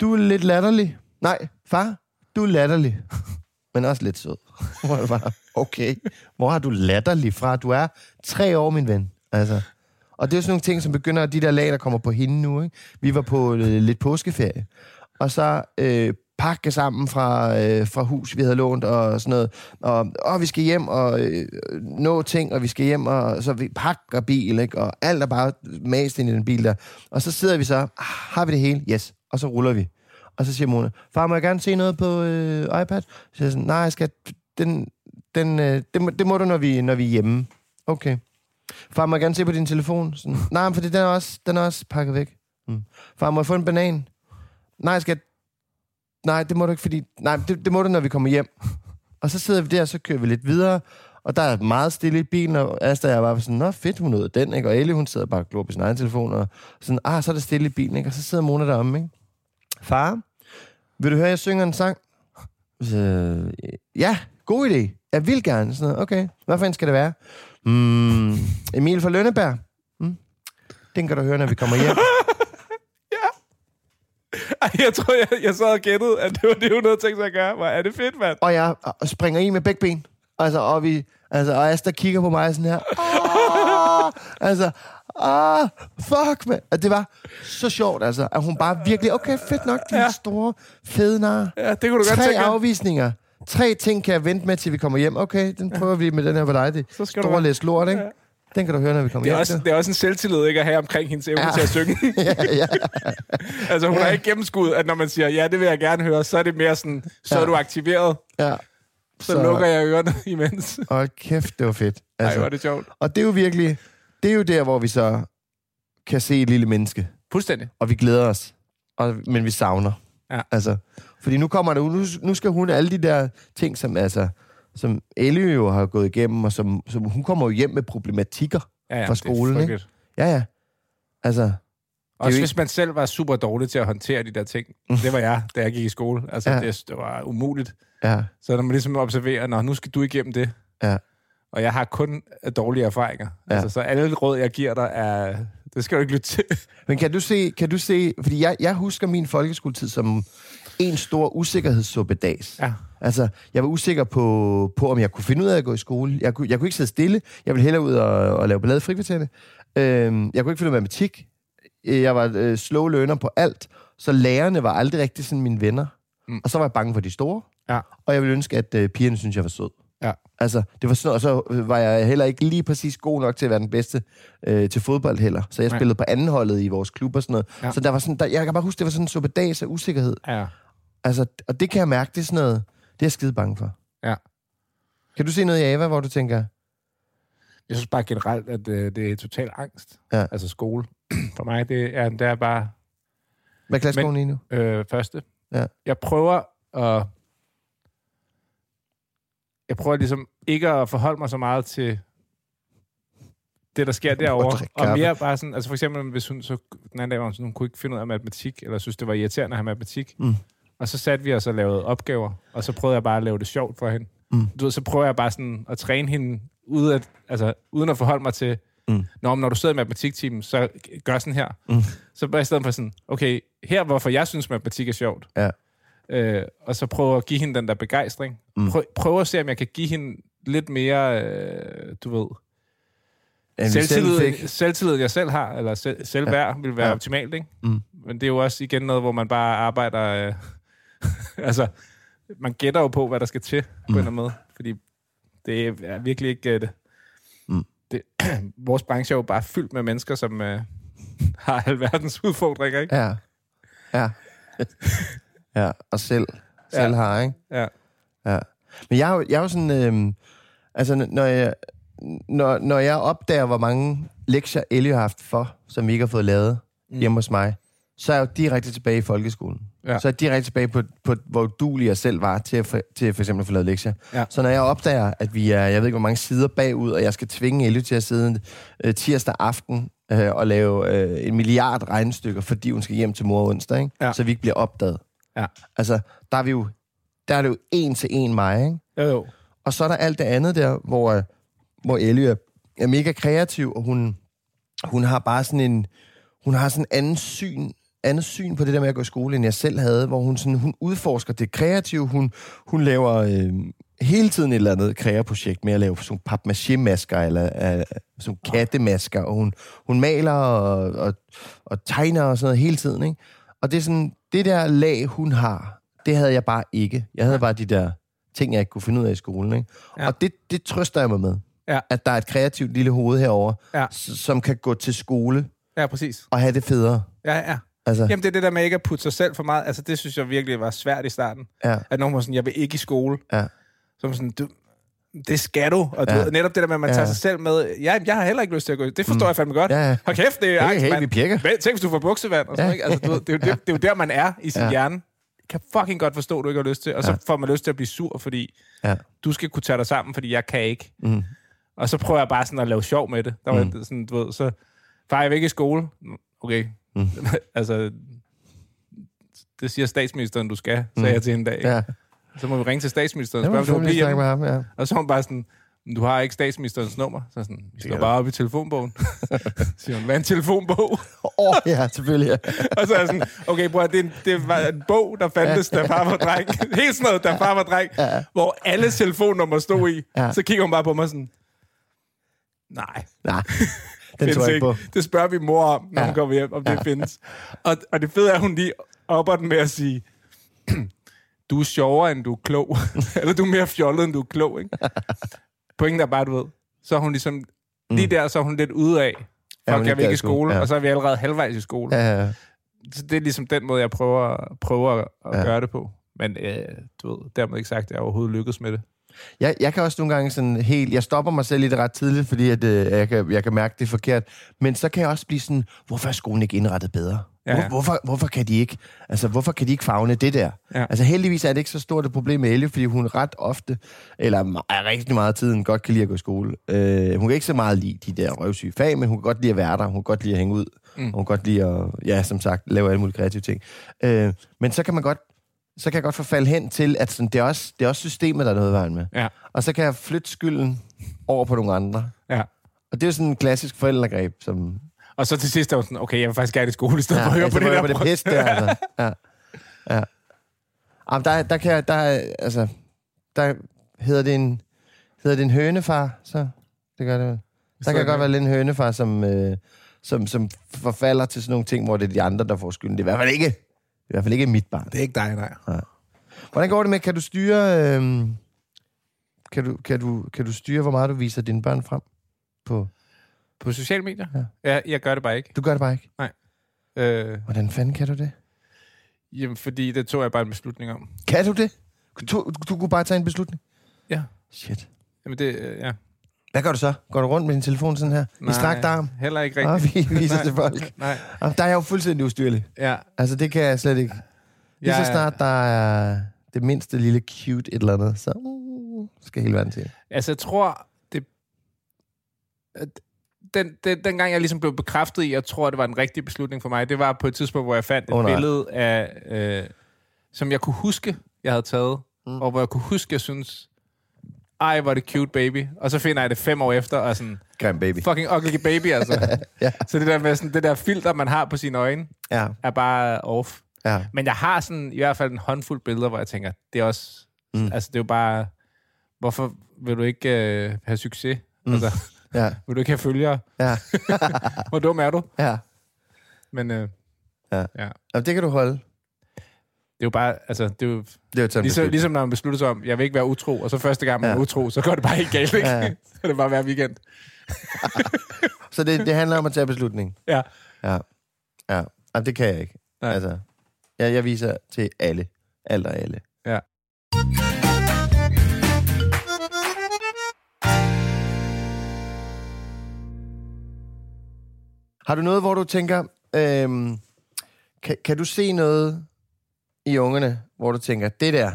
Speaker 1: du er lidt latterlig. Nej, far, du er latterlig. Men også lidt sød. *laughs* Hvor jeg bare, okay, hvor har du latterlig fra? Du er tre år, min ven. Altså. Og det er jo sådan nogle ting, som begynder, de der lag, der kommer på hende nu. Ikke? Vi var på øh, lidt påskeferie, og så øh, pakke sammen fra, øh, fra hus, vi havde lånt og sådan noget. Og, og vi skal hjem og øh, nå ting, og vi skal hjem, og så vi pakker bil, ikke? og alt er bare mast ind i den bil der. Og så sidder vi så, ah, har vi det hele? Yes. Og så ruller vi. Og så siger Mona, far, må jeg gerne se noget på øh, iPad? Så siger jeg sådan, nej, skat, den, den, øh, det, må, det må du, når vi, når vi er hjemme. Okay. Far, må jeg gerne se på din telefon? Sådan, nej, men fordi den er også, den er også pakket væk. Mm. Far, må jeg få en banan? Nej, skat. Nej, det må du ikke, fordi... Nej, det, det må du, når vi kommer hjem. Og så sidder vi der, og så kører vi lidt videre, og der er meget stille i bilen, og Asta og jeg var sådan, nå fedt, hun nåede den, ikke? Og Ellie, hun sidder bare og glor på sin egen telefon, og sådan, ah, så er der stille i bilen, ikke? Og så sidder Mona deromme, ikke? Far, vil du høre, jeg synger en sang? Så, øh, ja, god idé. Jeg vil gerne. Sådan noget. Okay, hvad fanden skal det være? Mm, Emil fra Lønneberg. Mm. Den kan du høre, når vi kommer hjem.
Speaker 2: *laughs* Ej, jeg tror, jeg, jeg sad og gættede, at det var det, hun havde tænkt sig at gøre. Hvor er det fedt, mand.
Speaker 1: og jeg og springer i med begge ben. Altså, og, vi, altså, og Asta kigger på mig sådan her. "Ah!" altså, ah, fuck, man. Og det var så sjovt, altså. At hun bare virkelig, okay, fedt nok, de ja. store, fede nar.
Speaker 2: Ja, det kunne du godt
Speaker 1: Tre
Speaker 2: tænke.
Speaker 1: afvisninger. Tre ting kan jeg vente med, til vi kommer hjem. Okay, den prøver vi med den her for dig. Det
Speaker 2: Så
Speaker 1: så skal
Speaker 2: skal du
Speaker 1: store
Speaker 2: være-
Speaker 1: læs lort, ikke? Ja. Den kan du høre, når vi kommer
Speaker 2: Det er,
Speaker 1: hjem.
Speaker 2: også,
Speaker 1: du.
Speaker 2: det er også en selvtillid, ikke, at have omkring hendes evne ja.
Speaker 1: Ja.
Speaker 2: til at synge.
Speaker 1: *laughs* ja, ja.
Speaker 2: *laughs* altså, hun har ikke gennemskuddet, at når man siger, ja, det vil jeg gerne høre, så er det mere sådan, så er
Speaker 1: Ja.
Speaker 2: du aktiveret,
Speaker 1: ja.
Speaker 2: så, så... lukker jeg ørerne *laughs* imens.
Speaker 1: Hold kæft, det var fedt. Altså,
Speaker 2: Nej, hvor er det sjovt.
Speaker 1: Og det er jo virkelig, det er jo der, hvor vi så kan se et lille menneske.
Speaker 2: Fuldstændig.
Speaker 1: og vi glæder os, og, men vi savner.
Speaker 2: Ja.
Speaker 1: Altså, fordi nu kommer det, nu, nu skal hun alle de der ting, som, altså, som Ellie jo har gået igennem, og som, som hun kommer jo hjem med problematikker
Speaker 2: Ja, ja,
Speaker 1: fra
Speaker 2: det
Speaker 1: skolen.
Speaker 2: er
Speaker 1: Ikke?
Speaker 2: frygteligt.
Speaker 1: Ja, ja. Altså,
Speaker 2: Også
Speaker 1: jo Mm.
Speaker 2: hvis man selv var super dårlig til at håndtere de der ting. Det var jeg, da jeg gik i skole. Altså, ja.
Speaker 1: Ja.
Speaker 2: det, det var umuligt.
Speaker 1: ja,
Speaker 2: Så når man ligesom observerer, når nu skal du igennem det,
Speaker 1: ja.
Speaker 2: og jeg har kun øh, dårlige erfaringer. Ja. Altså, så alle råd, jeg giver dig, er... Det skal du ikke lytte til.
Speaker 1: Men kan du se, kan du se fordi jeg, jeg husker min folkeskoletid som en stor usikkerhedssuppedags.
Speaker 2: Ja.
Speaker 1: Altså, jeg var usikker på, på, om jeg kunne finde ud af at gå i skole. Jeg kunne, jeg kunne ikke sidde stille. Jeg ville hellere ud og, og lave ballade i frikvartererne. Øhm, jeg kunne ikke finde ud af matematik. øh, jeg var øh, slow learner på alt, så lærerne var aldrig rigtig sådan mine venner. Mm. Og så var jeg bange for de store,
Speaker 2: Ja.
Speaker 1: og jeg ville ønske, at øh, pigerne synes jeg var sød.
Speaker 2: Ja.
Speaker 1: Altså, det var sådan, og så øh, var jeg heller ikke lige præcis god nok til at være den bedste øh, til fodbold heller. Så jeg
Speaker 2: Nej.
Speaker 1: spillede på andenholdet i vores klub og sådan noget.
Speaker 2: Ja.
Speaker 1: Ja. Så der var sådan, der, jeg kan bare huske, det var sådan en suppedags af usikkerhed.
Speaker 2: Ja.
Speaker 1: Altså, og det kan jeg mærke, det er sådan noget, det er jeg skide bange for.
Speaker 2: ja.
Speaker 1: Kan du se noget i Ava, hvor du tænker,
Speaker 2: Jeg synes bare generelt, at øh, det er total angst.
Speaker 1: Ja.
Speaker 2: Altså skole. *clears throat* For mig, det er, det er bare
Speaker 1: hvad klasse
Speaker 2: Men-
Speaker 1: går hun i nu?
Speaker 2: øh, første.
Speaker 1: Ja.
Speaker 2: Jeg prøver at... Jeg prøver ligesom ikke at forholde mig så meget til det, der sker derovre.
Speaker 1: drikke
Speaker 2: Og
Speaker 1: kaffe.
Speaker 2: mere bare sådan... Altså for eksempel, hvis hun så... Den anden dag var hun sådan, hun kunne ikke finde ud af matematik, eller synes, det var irriterende at have matematik.
Speaker 1: Mm.
Speaker 2: Og så satte vi os og lavede opgaver, og så prøvede jeg bare at lave det sjovt for hende.
Speaker 1: Mm.
Speaker 2: Du ved, så prøver jeg bare sådan at træne hende, ude at, altså, uden at forholde mig til,
Speaker 1: Mm.
Speaker 2: Nå, men når du sidder i matematiktimen, så gør sådan her. Mm. Så bare i stedet for sådan, okay, her hvorfor jeg synes, matematik er sjovt,
Speaker 1: Ja.
Speaker 2: øh, og så prøve at give hende den der begejstring. Mm. Prøv, prøv at se, om jeg kan give hende lidt mere, øh, du ved,
Speaker 1: End vi selv fik.
Speaker 2: selvtillid, selvtillid, jeg selv har, eller selv, selvværd, ja. vil være ja. optimalt, ikke? Mm. Men det er jo også igen noget, hvor man bare arbejder, øh, *laughs* altså, man gætter jo på, hvad der skal til, på mm. en eller anden måde, fordi det er virkelig ikke øh, det. Mm. det *clears throat* vores branche er jo bare fyldt med mennesker, som øh, *laughs* har alverdens udfordringer, ikke?
Speaker 1: Ja.
Speaker 2: *laughs*
Speaker 1: Ja. ja, og selv. Selv
Speaker 2: Ja.
Speaker 1: ja. har, ikke?
Speaker 2: Ja.
Speaker 1: Ja. Men jeg er jo, jeg er jo sådan... Øhm, altså, n- når jeg, når, når jeg opdager, hvor mange lektier Ellie har haft for, som vi ikke har fået lavet mm. hjemme hos mig, så er jeg jo direkte tilbage i folkeskolen.
Speaker 2: Ja.
Speaker 1: Ja. Så er jeg direkte tilbage på, på hvor duelig jeg selv var til, at for, til for eksempel at få lavet lektier.
Speaker 2: Ja.
Speaker 1: Så når jeg opdager, at vi er, jeg ved ikke hvor mange sider bagud, og jeg skal tvinge Ellie til at sidde øh, tirsdag aften øh, og lave øh, en milliard regnestykker, fordi hun skal hjem til mor onsdag, ikke?
Speaker 2: Ja.
Speaker 1: så vi ikke bliver opdaget.
Speaker 2: Ja.
Speaker 1: Altså, der er, vi jo, der er det jo en til en mig, ikke?
Speaker 2: Jo, jo.
Speaker 1: Og så er der alt det andet der, hvor, øh, hvor Ellie er, er mega kreativ, og hun, hun har bare sådan en... Hun har sådan en anden syn, andet syn på det der med at gå i skole, end jeg selv havde, hvor hun, sådan, hun udforsker det kreative. Hun, hun laver øh, hele tiden et eller andet kreaprojekt med at lave sådan pap masker eller øh, sådan kattemasker, og hun, hun maler og, og, og, tegner og sådan noget hele tiden. Ikke? Og det er sådan, det der lag, hun har, det havde jeg bare ikke. Jeg havde bare de der ting, jeg ikke kunne finde ud af i skolen. Ikke?
Speaker 2: Ja.
Speaker 1: Ja. Og det, det trøster jeg mig med.
Speaker 2: Ja.
Speaker 1: At der er et kreativt lille hoved herover,
Speaker 2: Ja.
Speaker 1: som kan gå til skole
Speaker 2: Ja, præcis.
Speaker 1: og have det federe.
Speaker 2: Ja, ja.
Speaker 1: Altså,
Speaker 2: Jamen, det er det der med ikke at putte sig selv for meget. Altså, det synes jeg virkelig var svært i starten.
Speaker 1: Ja.
Speaker 2: At nogen var sådan, jeg vil ikke i skole.
Speaker 1: Ja.
Speaker 2: Så var man sådan, du, det skal du. Og du
Speaker 1: Ja.
Speaker 2: ved, netop det der med, at man
Speaker 1: Ja.
Speaker 2: tager sig selv med. Ja, jeg har heller ikke lyst til at gå. i- Det forstår mm. jeg fandme godt.
Speaker 1: Ja, ja.
Speaker 2: Hold kæft, det er
Speaker 1: Hey,
Speaker 2: angst,
Speaker 1: hey,
Speaker 2: mand.
Speaker 1: vi pjekker.
Speaker 2: Men Tænk, hvis du får buksevand. Og sådan,
Speaker 1: Ja.
Speaker 2: ikke? Altså, du, ved, det, er jo, det, det, er jo der, man er i sin ja.
Speaker 1: Ja.
Speaker 2: hjerne. Jeg kan fucking godt forstå, at du ikke har lyst til. Og så ja. får man lyst til at blive sur, fordi
Speaker 1: Ja.
Speaker 2: du skal kunne tage dig sammen, fordi jeg kan ikke. Mm. Og så prøver jeg bare sådan at lave sjov med det. Der var mm. sådan, du ved, så far, jeg vil ikke i skole. Okay. Mm. *laughs* altså, det siger statsministeren, du skal, sagde jeg til hende en dag.
Speaker 1: Mm. ja.
Speaker 2: Så må vi ringe til statsministeren
Speaker 1: Jeg
Speaker 2: og spørge,
Speaker 1: må
Speaker 2: om du vil blive
Speaker 1: selvfølgelig snakke
Speaker 2: hjemme.
Speaker 1: med ham, ja.
Speaker 2: Og så var hun bare sådan, "Men du har ikke statsministerens nummer. Så er jeg sådan, vi slår bare op i
Speaker 1: *laughs*
Speaker 2: telefonbogen. Så siger hun, hvad er en telefonbog?
Speaker 1: Åh, oh, ja, selvfølgelig. *laughs* Ja.
Speaker 2: og så er jeg sådan, okay bror, det, er en- det var en bog, der fandtes, da far var
Speaker 1: *laughs*
Speaker 2: dreng. Helt sådan noget, da far var dreng. Hvor alle telefonnumre stod i.
Speaker 1: Ja.
Speaker 2: Så kigger hun bare på mig sådan, nej.
Speaker 1: Nej, den tror
Speaker 2: findes
Speaker 1: jeg ikke på.
Speaker 2: Det spørger vi mor om, når ja.
Speaker 1: Ja.
Speaker 2: hun kommer hjem, om det findes. Og, og det fede er, at hun lige opper den med at sige, *clears throat* du er sjovere, end du er klog. *laughs* Eller du er mere fjollet, end du er klog.
Speaker 1: *laughs*
Speaker 2: Ikke? Pointen er bare, du ved, så er hun ligesom, mm. lige der, så er hun lidt ude af.
Speaker 1: Ja,
Speaker 2: Ja,
Speaker 1: hun
Speaker 2: og
Speaker 1: er
Speaker 2: jeg vil ikke i
Speaker 1: glad i skole,
Speaker 2: skole, ja.
Speaker 1: ja.
Speaker 2: og så er vi allerede halvvejs i skole. Ja.
Speaker 1: Ja, ja.
Speaker 2: Så det er ligesom den måde, jeg prøver, prøver at ja. gøre det på. Men øh, du ved, dermed ikke sagt, at jeg overhovedet lykkedes med det.
Speaker 1: Jeg, jeg kan også nogle gange sådan helt... Jeg stopper mig selv i det ret tidligt, fordi at, øh, jeg, kan, jeg kan mærke, det er forkert. Men så kan jeg også blive sådan, hvorfor er skolen ikke indrettet bedre?
Speaker 2: Ja,
Speaker 1: Ja, Hvor,
Speaker 2: ja.
Speaker 1: hvorfor, hvorfor, kan de ikke, altså, hvorfor kan de ikke fagne det der?
Speaker 2: Ja.
Speaker 1: Ja. Altså heldigvis er det ikke så stort et problem med Ellie, fordi hun ret ofte, eller me- rigtig meget af tiden, godt kan lide at gå i skole. Øh, hun kan ikke så meget lide de der røvsyge fag, men hun kan godt lide at være der, hun kan godt lide at hænge ud, mm. hun kan godt lide at, ja, som sagt, lave alle mulige kreative ting. Øh, men så kan man godt så kan jeg godt forfalde hen til, at sådan, det, er også, det er også systemet, der er noget i vejen med.
Speaker 2: Ja.
Speaker 1: Og så kan jeg flytte skylden over på nogle andre.
Speaker 2: Ja.
Speaker 1: Og det er jo sådan en klassisk forældregreb,
Speaker 2: *laughs*
Speaker 1: som...
Speaker 2: Og så til sidst er hun sådan, okay, jeg vil faktisk gerne i skole, i stedet ja, for at høre
Speaker 1: altså,
Speaker 2: på det
Speaker 1: hvor
Speaker 2: der.
Speaker 1: jeg var
Speaker 2: brød."
Speaker 1: det pis der, altså. Ja. ja. Jamen, der, der kan jeg, der, er- altså, der hedder det en, hedder det en hønefar, så det gør det vel. Der kan jeg
Speaker 2: det-
Speaker 1: godt være lidt en hønefar, som, øh, som, som forfalder til sådan nogle ting, hvor det er de andre, der får skylden. Det er i hvert fald ikke, i hvert fald ikke mit barn.
Speaker 2: *laughs* Det er ikke dig, nej.
Speaker 1: Hvordan går det med, kan du styre, øh, kan, du, kan, du, kan du styre, hvor meget du viser dine børn frem? På,
Speaker 2: På sociale medier? Ja. ja jeg gør det bare ikke.
Speaker 1: du gør det bare ikke.
Speaker 2: Øh,
Speaker 1: Hvordan fanden kan du det?
Speaker 2: jamen, fordi det tog jeg bare en beslutning om.
Speaker 1: Kan du det? Du, du kunne bare tage en beslutning?
Speaker 2: Ja.
Speaker 1: Shit.
Speaker 2: Jamen, det, øh, ja.
Speaker 1: Hvad gør du så? Går du rundt med din telefon sådan her? I strakt arm?
Speaker 2: Heller ikke
Speaker 1: Og
Speaker 2: *laughs* rigtigt.
Speaker 1: vi viser
Speaker 2: Nej,
Speaker 1: til folk.
Speaker 2: Nej,
Speaker 1: Jamen, Der er jeg jo fuldstændig ustyrlig.
Speaker 2: ja.
Speaker 1: Altså, det kan jeg slet ikke. Lige
Speaker 2: Jeg- øh,
Speaker 1: så snart der er det mindste lille cute et eller andet, så uh, skal hele verden til.
Speaker 2: Altså, jeg tror, det... At den, den, dengang jeg ligesom blev bekræftet i, jeg tror, det var en rigtig beslutning for mig, det var på et tidspunkt, hvor jeg fandt et
Speaker 1: Åh,
Speaker 2: oh,
Speaker 1: nej.
Speaker 2: billede af... Øh, som jeg kunne huske, jeg havde taget, mm. og hvor jeg kunne huske, jeg synes, ej, hvor er det cute baby. Og så finder jeg det fem år efter, og sådan,
Speaker 1: Grim baby.
Speaker 2: fucking ugly baby, altså.
Speaker 1: *laughs* Ja.
Speaker 2: Så det der med sådan, det der filter, man har på sine øjne,
Speaker 1: Ja,
Speaker 2: er bare off.
Speaker 1: ja.
Speaker 2: Men jeg har sådan i hvert fald en håndfuld billeder, hvor jeg tænker, det er også... Mm. Altså, det er jo bare... Hvorfor vil du ikke øh, have succes? Mm. Altså, *laughs*
Speaker 1: Ja,
Speaker 2: vil du ikke have følgere?
Speaker 1: ja, Ah.
Speaker 2: Hvor dum er du?
Speaker 1: ja.
Speaker 2: Men øh,
Speaker 1: Jamen, det kan du holde.
Speaker 2: det er jo bare... Altså, det er jo,
Speaker 1: Det er jo sådan,
Speaker 2: ligesom,
Speaker 1: det
Speaker 2: ligesom når man beslutter sig om, jeg vil ikke være utro, og så første gang man
Speaker 1: Ja.
Speaker 2: er utro, så går det bare helt galt, ikke?
Speaker 1: Ja, ja.
Speaker 2: *laughs* så er det bare hver weekend.
Speaker 1: er. Så det, det handler om at tage beslutning.
Speaker 2: Ja.
Speaker 1: Ja, ja. Jamen, det kan jeg ikke.
Speaker 2: Nej.
Speaker 1: Altså, jeg, jeg viser til alle. Alt og alle.
Speaker 2: Ja.
Speaker 1: Har du noget, hvor du tænker, øhm, kan, kan du se noget i ungerne, hvor du tænker, det der,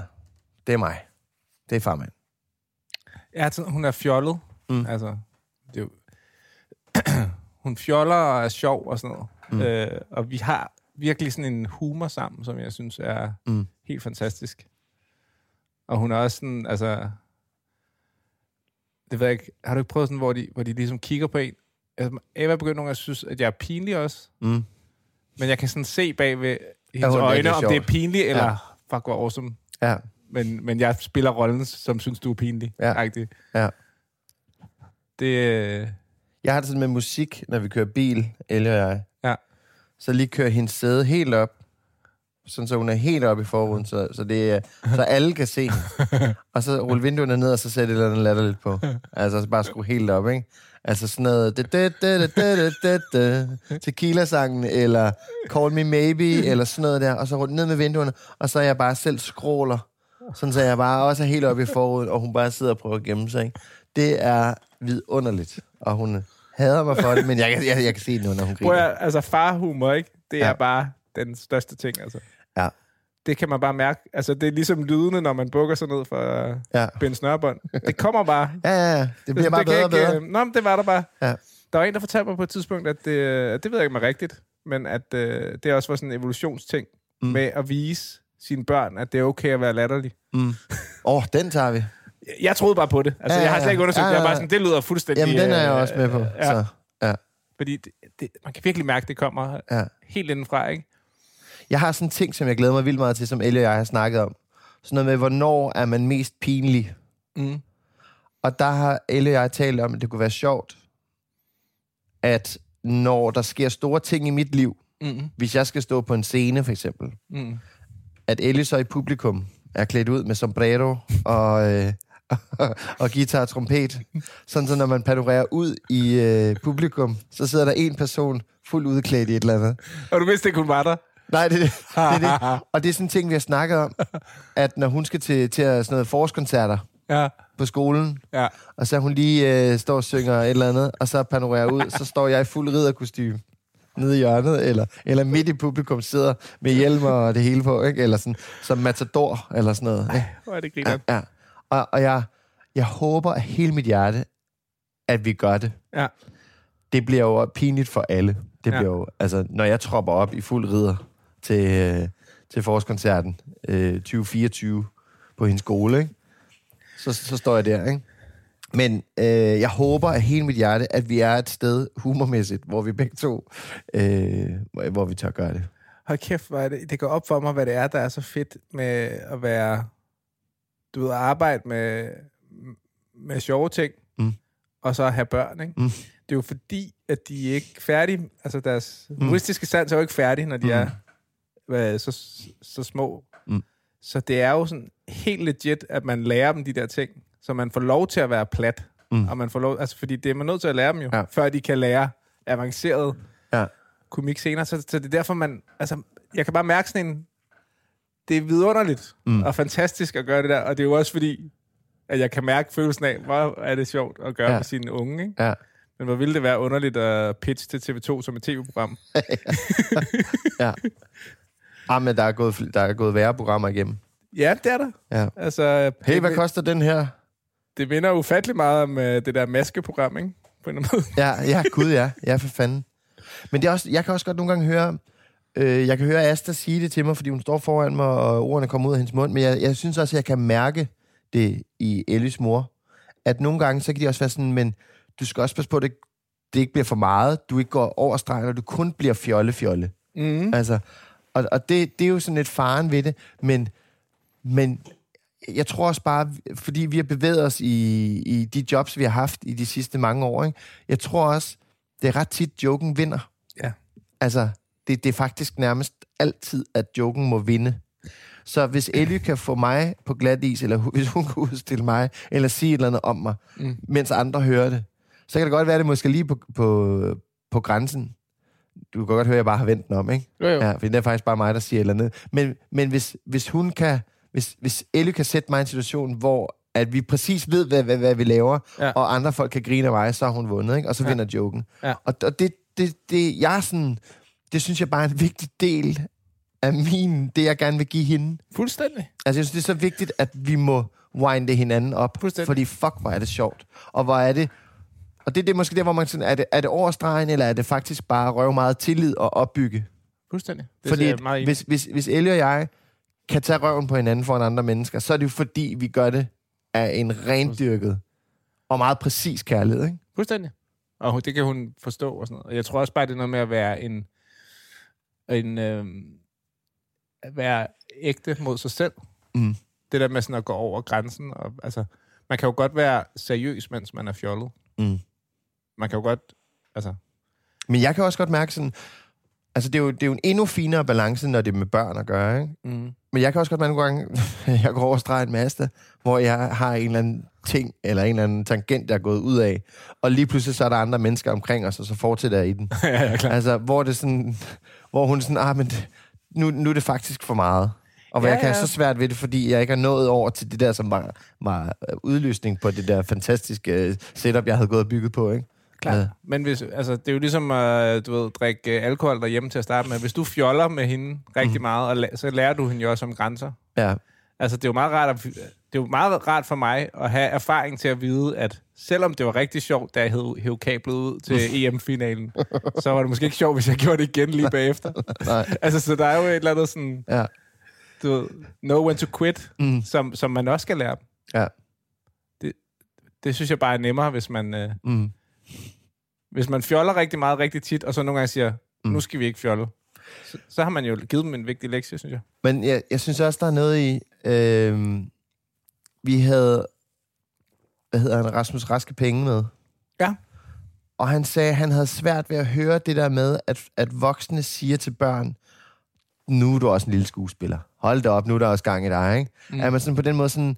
Speaker 1: det er mig. Det er farmand.
Speaker 2: Jeg har sådan, hun er fjollet.
Speaker 1: Mm.
Speaker 2: Mm. Altså, det er jo, *clears throat* hun fjoller og er sjov og sådan noget. Mm. Øh, og vi har virkelig sådan en humor sammen, som jeg synes er
Speaker 1: Mm.
Speaker 2: mm. helt fantastisk. Og hun er også sådan, altså... Det ved jeg ikke. Har du ikke prøvet sådan, hvor de, hvor de ligesom kigger på en? Altså, Ava begynder nogle gange at synes, at jeg er pinlig også.
Speaker 1: Mm.
Speaker 2: Men jeg kan sådan se bag ved hendes
Speaker 1: hun er virkelig
Speaker 2: øjne, om
Speaker 1: sjov.
Speaker 2: det er pinligt, eller
Speaker 1: Ja.
Speaker 2: fuck, hvor awesome.
Speaker 1: Ja,
Speaker 2: Men, men jeg spiller rollen, som synes, du er pinlig.
Speaker 1: Ja.
Speaker 2: Agtig.
Speaker 1: ja.
Speaker 2: Det, øh,
Speaker 1: Jeg har det sådan med musik, når vi kører bil, eller jeg.
Speaker 2: Ja.
Speaker 1: Så lige kører hendes sæde helt op, sådan så hun er helt oppe i forruden, så, så, det, er- så alle kan se hende. Og så rulle vinduerne ned, og så sætte et eller andet latterligt på. Altså så bare skrue helt op, ikke? Altså sådan noget... det- det- det- det- det- det- det- det, Tequila-sangen, eller Call Me Maybe, eller sådan noget der. Og så rundt ned med vinduerne, og så er jeg bare selv skråler. Sådan så jeg bare også er helt oppe i forruden, og hun bare sidder og prøver at gemme sig, ikke? Det er vidunderligt. Og hun hader mig for det, men jeg, kan- jeg, jeg kan se det nu, når hun
Speaker 2: prøv
Speaker 1: griner.
Speaker 2: at, altså farhumor, ikke? Det er
Speaker 1: Ja.
Speaker 2: bare den største ting, altså.
Speaker 1: Ja.
Speaker 2: Det kan man bare mærke. Altså, det er ligesom lydene, når man bukker sig ned for
Speaker 1: Ja.
Speaker 2: ja. Ben Snørbånd. Det kommer bare.
Speaker 1: *laughs* Ja, ja, ja. Det bliver bare
Speaker 2: kan
Speaker 1: bedre og bedre.
Speaker 2: øh, Nå, men det var der bare.
Speaker 1: Ja.
Speaker 2: Der var en, der fortalte mig på et tidspunkt, at det, øh, det ved jeg ikke, om er rigtigt, men at øh, det også var sådan en evolutionsting mm. med at vise sine børn, at det er okay at være latterlig.
Speaker 1: Åh, oh, den tager vi.
Speaker 2: Jeg troede bare på det.
Speaker 1: Ja,
Speaker 2: Altså, ja,
Speaker 1: ja,
Speaker 2: jeg har slet ikke
Speaker 1: ja.
Speaker 2: undersøgt
Speaker 1: Ja,
Speaker 2: ja,
Speaker 1: ja,
Speaker 2: ja, Jeg er bare
Speaker 1: ja.
Speaker 2: sådan, det lyder fuldstændig...
Speaker 1: Jamen, den er jeg
Speaker 2: øh,
Speaker 1: også med på.
Speaker 2: øh,
Speaker 1: Ja. Så, ja.
Speaker 2: Fordi det, det, man kan virkelig mærke, at det kommer
Speaker 1: Ja.
Speaker 2: ja. helt indenfra, ikke?
Speaker 1: Jeg har sådan en ting, som jeg glæder mig vildt meget til, som Ellie og jeg har snakket om. Sådan noget med, hvornår er man mest pinlig?
Speaker 2: Mm.
Speaker 1: Og der har Ellie og jeg talt om, at det kunne være sjovt, at når der sker store ting i mit liv,
Speaker 2: Mm.
Speaker 1: hvis jeg skal stå på en scene for eksempel,
Speaker 2: Mm.
Speaker 1: at Ellie så i publikum er klædt ud med sombrero og, øh, *laughs* og guitar og trompet. Sådan så når man panorerer ud i øh, publikum, så sidder der en person fuldt udklædt i et eller andet.
Speaker 2: Og du vidste ikke, hun var der?
Speaker 1: Nej, det, er det,
Speaker 2: *laughs*
Speaker 1: det er det. Og det er sådan en ting, vi har snakket om, at når hun skal til, til at- sådan noget forårskoncerter
Speaker 2: Ja.
Speaker 1: på skolen,
Speaker 2: Ja.
Speaker 1: og så hun lige øh, står og synger et eller andet, og så panorerer ud, så står jeg i fuld ridderkostyme nede i hjørnet, eller, eller midt i publikum sidder med hjelm og det hele på, ikke? eller sådan, som matador, eller sådan noget. Ikke?
Speaker 2: Hvor er det
Speaker 1: Ja,
Speaker 2: griner.
Speaker 1: ja. Og, og jeg, jeg håber af hele mit hjerte, at vi gør det.
Speaker 2: Ja. ja.
Speaker 1: Det bliver jo pinligt for alle. Det
Speaker 2: Ja.
Speaker 1: bliver jo, altså, når jeg tropper op i fuld ridder til, øh, til forårskoncerten øh, 2024 på hendes skole, ikke? Så, så står jeg der, ikke? Men øh, jeg håber af hele mit hjerte, at vi er et sted humormæssigt, hvor vi begge to, øh, hvor- hvor vi tør gøre det.
Speaker 2: Hold kæft, hvor er det, det går op for mig, hvad det er, der er så fedt med at være... Du ved, at arbejde med, med sjove ting.
Speaker 1: Mm.
Speaker 2: Mm. og så have børn, ikke? Mm. Det er jo fordi, at de er ikke færdige. Altså, deres mm. juristiske sans er jo ikke færdig, når de mm. er hvad, så, så små. Mm. Så det er jo sådan helt legit, at man lærer dem de der ting, så man får lov til at være plat. Mm. Og man får lov, altså, fordi det er man nødt til at lære dem jo,
Speaker 1: Ja.
Speaker 2: ja. før de kan lære avanceret
Speaker 1: Ja.
Speaker 2: komik senere. Så, så det er derfor, man... Altså, jeg kan bare mærke sådan en... Det er vidunderligt mm. og fantastisk at gøre det der, og det er jo også fordi, at jeg kan mærke følelsen af, hvor er det sjovt at gøre
Speaker 1: Ja.
Speaker 2: ja. med sine unge, ikke?
Speaker 1: Ja.
Speaker 2: Men hvor ville det være underligt at pitche til TV2 som et tv-program? *laughs*
Speaker 1: Ja. Ah, men der er gået, fl- der er gået værre programmer igennem.
Speaker 2: Ja, det er der.
Speaker 1: Ja.
Speaker 2: Altså,
Speaker 1: Hey,
Speaker 2: det,
Speaker 1: hvad koster den her?
Speaker 2: det minder ufattelig meget om uh, det der maskeprogram, ikke? På en eller anden måde.
Speaker 1: Ja, ja, gud ja. Ja, for fanden. Men det er også, jeg kan også godt nogle gange høre, øh, jeg kan høre Asta sige det til mig, fordi hun står foran mig, og ordene kommer ud af hendes mund, men jeg, jeg synes også, at jeg kan mærke det i Ellis mor, at nogle gange, så kan de også være sådan, men du skal også passe på, at det, det ikke bliver for meget, du ikke går over stregen, og du kun bliver fjolle-fjolle. Mm. Altså, og, og det, det er jo sådan lidt faren ved det, men, men jeg tror også bare, fordi vi har bevæget os i, i de jobs, vi har haft i de sidste mange år, ikke? jeg tror også, det er ret tit, joken vinder.
Speaker 2: Ja.
Speaker 1: Altså, det, det er faktisk nærmest altid, at joken må vinde. Så hvis Elly kan få mig på glat is, eller hu- *laughs* hvis hun kan udstille mig, eller sige et eller andet om mig, mm. mens andre hører det, så kan det godt være, at det måske er lige på, på, på grænsen. Du kan godt høre, at jeg bare har vendt den om, ikke?
Speaker 2: Jo, jo.
Speaker 1: Ja, for det er faktisk bare mig, der siger et eller andet. Men, men hvis, hvis hun kan... Hvis, hvis Elly kan sætte mig i en situation, hvor at vi præcis ved, hvad, hvad, hvad vi laver, ja.
Speaker 2: Ja.
Speaker 1: og andre folk kan grine af mig, så har hun vundet, ikke? og så ja. vinder joken.
Speaker 2: Ja.
Speaker 1: Og, og det, det, det, jeg er sådan, det synes jeg bare er en vigtig del af min, det jeg gerne vil give hende.
Speaker 2: Fuldstændig.
Speaker 1: Altså, jeg synes, det er så vigtigt, at vi må winde hinanden op.
Speaker 2: Fuldstændig.
Speaker 1: Fordi fuck, hvor er det sjovt. Og hvor er det... Og det, det er måske der, hvor man sådan, er det, er det overstregen, eller er det faktisk bare at røve meget tillid og opbygge?
Speaker 2: Fuldstændig. Det
Speaker 1: Fordi
Speaker 2: fordi
Speaker 1: at
Speaker 2: er meget
Speaker 1: hvis,
Speaker 2: hvis...
Speaker 1: hvis, hvis Ellie og jeg kan tage røven på hinanden foran andre mennesker, så er det jo fordi, vi gør det af en rendyrket og meget præcis kærlighed, ikke?
Speaker 2: Fuldstændig. Og hun- det kan hun forstå og sådan noget. Og jeg tror også bare, det er noget med at være en... en øh, at være ægte mod sig selv.
Speaker 1: Mm.
Speaker 2: Det der med sådan at gå over grænsen. Og, altså, man kan jo godt være seriøs, mens man er fjollet.
Speaker 1: Mm.
Speaker 2: Man kan jo godt... Altså,
Speaker 1: Men jeg kan også godt mærke sådan... Altså, det er, jo, det er jo en endnu finere balance, når det er med børn at gøre, ikke?
Speaker 2: mm.
Speaker 1: Men jeg kan også godt mærke nogle gange, *laughs* jeg går over stregen med Asta, hvor jeg har en eller anden ting, eller en eller anden tangent, jeg er gået ud af, og lige pludselig så er der andre mennesker omkring os, og så fortsætter jeg i den.
Speaker 2: *laughs* ja, ja, klar.
Speaker 1: Altså, hvor, det sådan, hvor hun sådan, ah, men det- nu, nu er det faktisk for meget. Og hvor ja,
Speaker 2: Ja,
Speaker 1: jeg kan
Speaker 2: ja.
Speaker 1: have så svært ved det, fordi jeg ikke har nået over til det der, som var, var øh, udløsning på det der fantastiske øh, setup, jeg havde gået og bygget på, ikke? Øh,
Speaker 2: Klart.
Speaker 1: Ja.
Speaker 2: Ja. Men hvis, altså, det er jo ligesom at du ved, drikke øh, alkohol derhjemme til at starte med. Hvis du fjoller med hende rigtig mm. meget, og la- så lærer du hende jo også om grænser.
Speaker 1: Ja,
Speaker 2: Altså, det er, jo meget rart at, det er jo meget rart for mig at have erfaring til at vide, at selvom det var rigtig sjovt, da jeg hed, hæv kablet ud *laughs* til EM-finalen, så var det måske ikke sjovt, hvis jeg gjorde det igen lige bagefter.
Speaker 1: Nej.
Speaker 2: altså, så der er jo et eller andet sådan,
Speaker 1: ja,
Speaker 2: du ved, know when to quit, mm. som, som man også skal lære dem.
Speaker 1: ja.
Speaker 2: det synes jeg bare er nemmere, hvis man... Øh, mm. Hvis man fjoller rigtig meget, rigtig tit, og så nogle gange siger, nu skal vi ikke fjolle. Så, så har man jo givet dem en vigtig lektie, synes jeg.
Speaker 1: Men jeg, jeg synes også, der er noget i... Øh, vi havde... Hvad hedder han? Rasmus Raske Penge med.
Speaker 2: Ja.
Speaker 1: Og han sagde, at han havde svært ved at høre det der med, at, at voksne siger til børn, nu er du også en lille skuespiller. Hold da op, nu er der også gang i dig. Ikke? Mm. At man sådan på den måde sådan,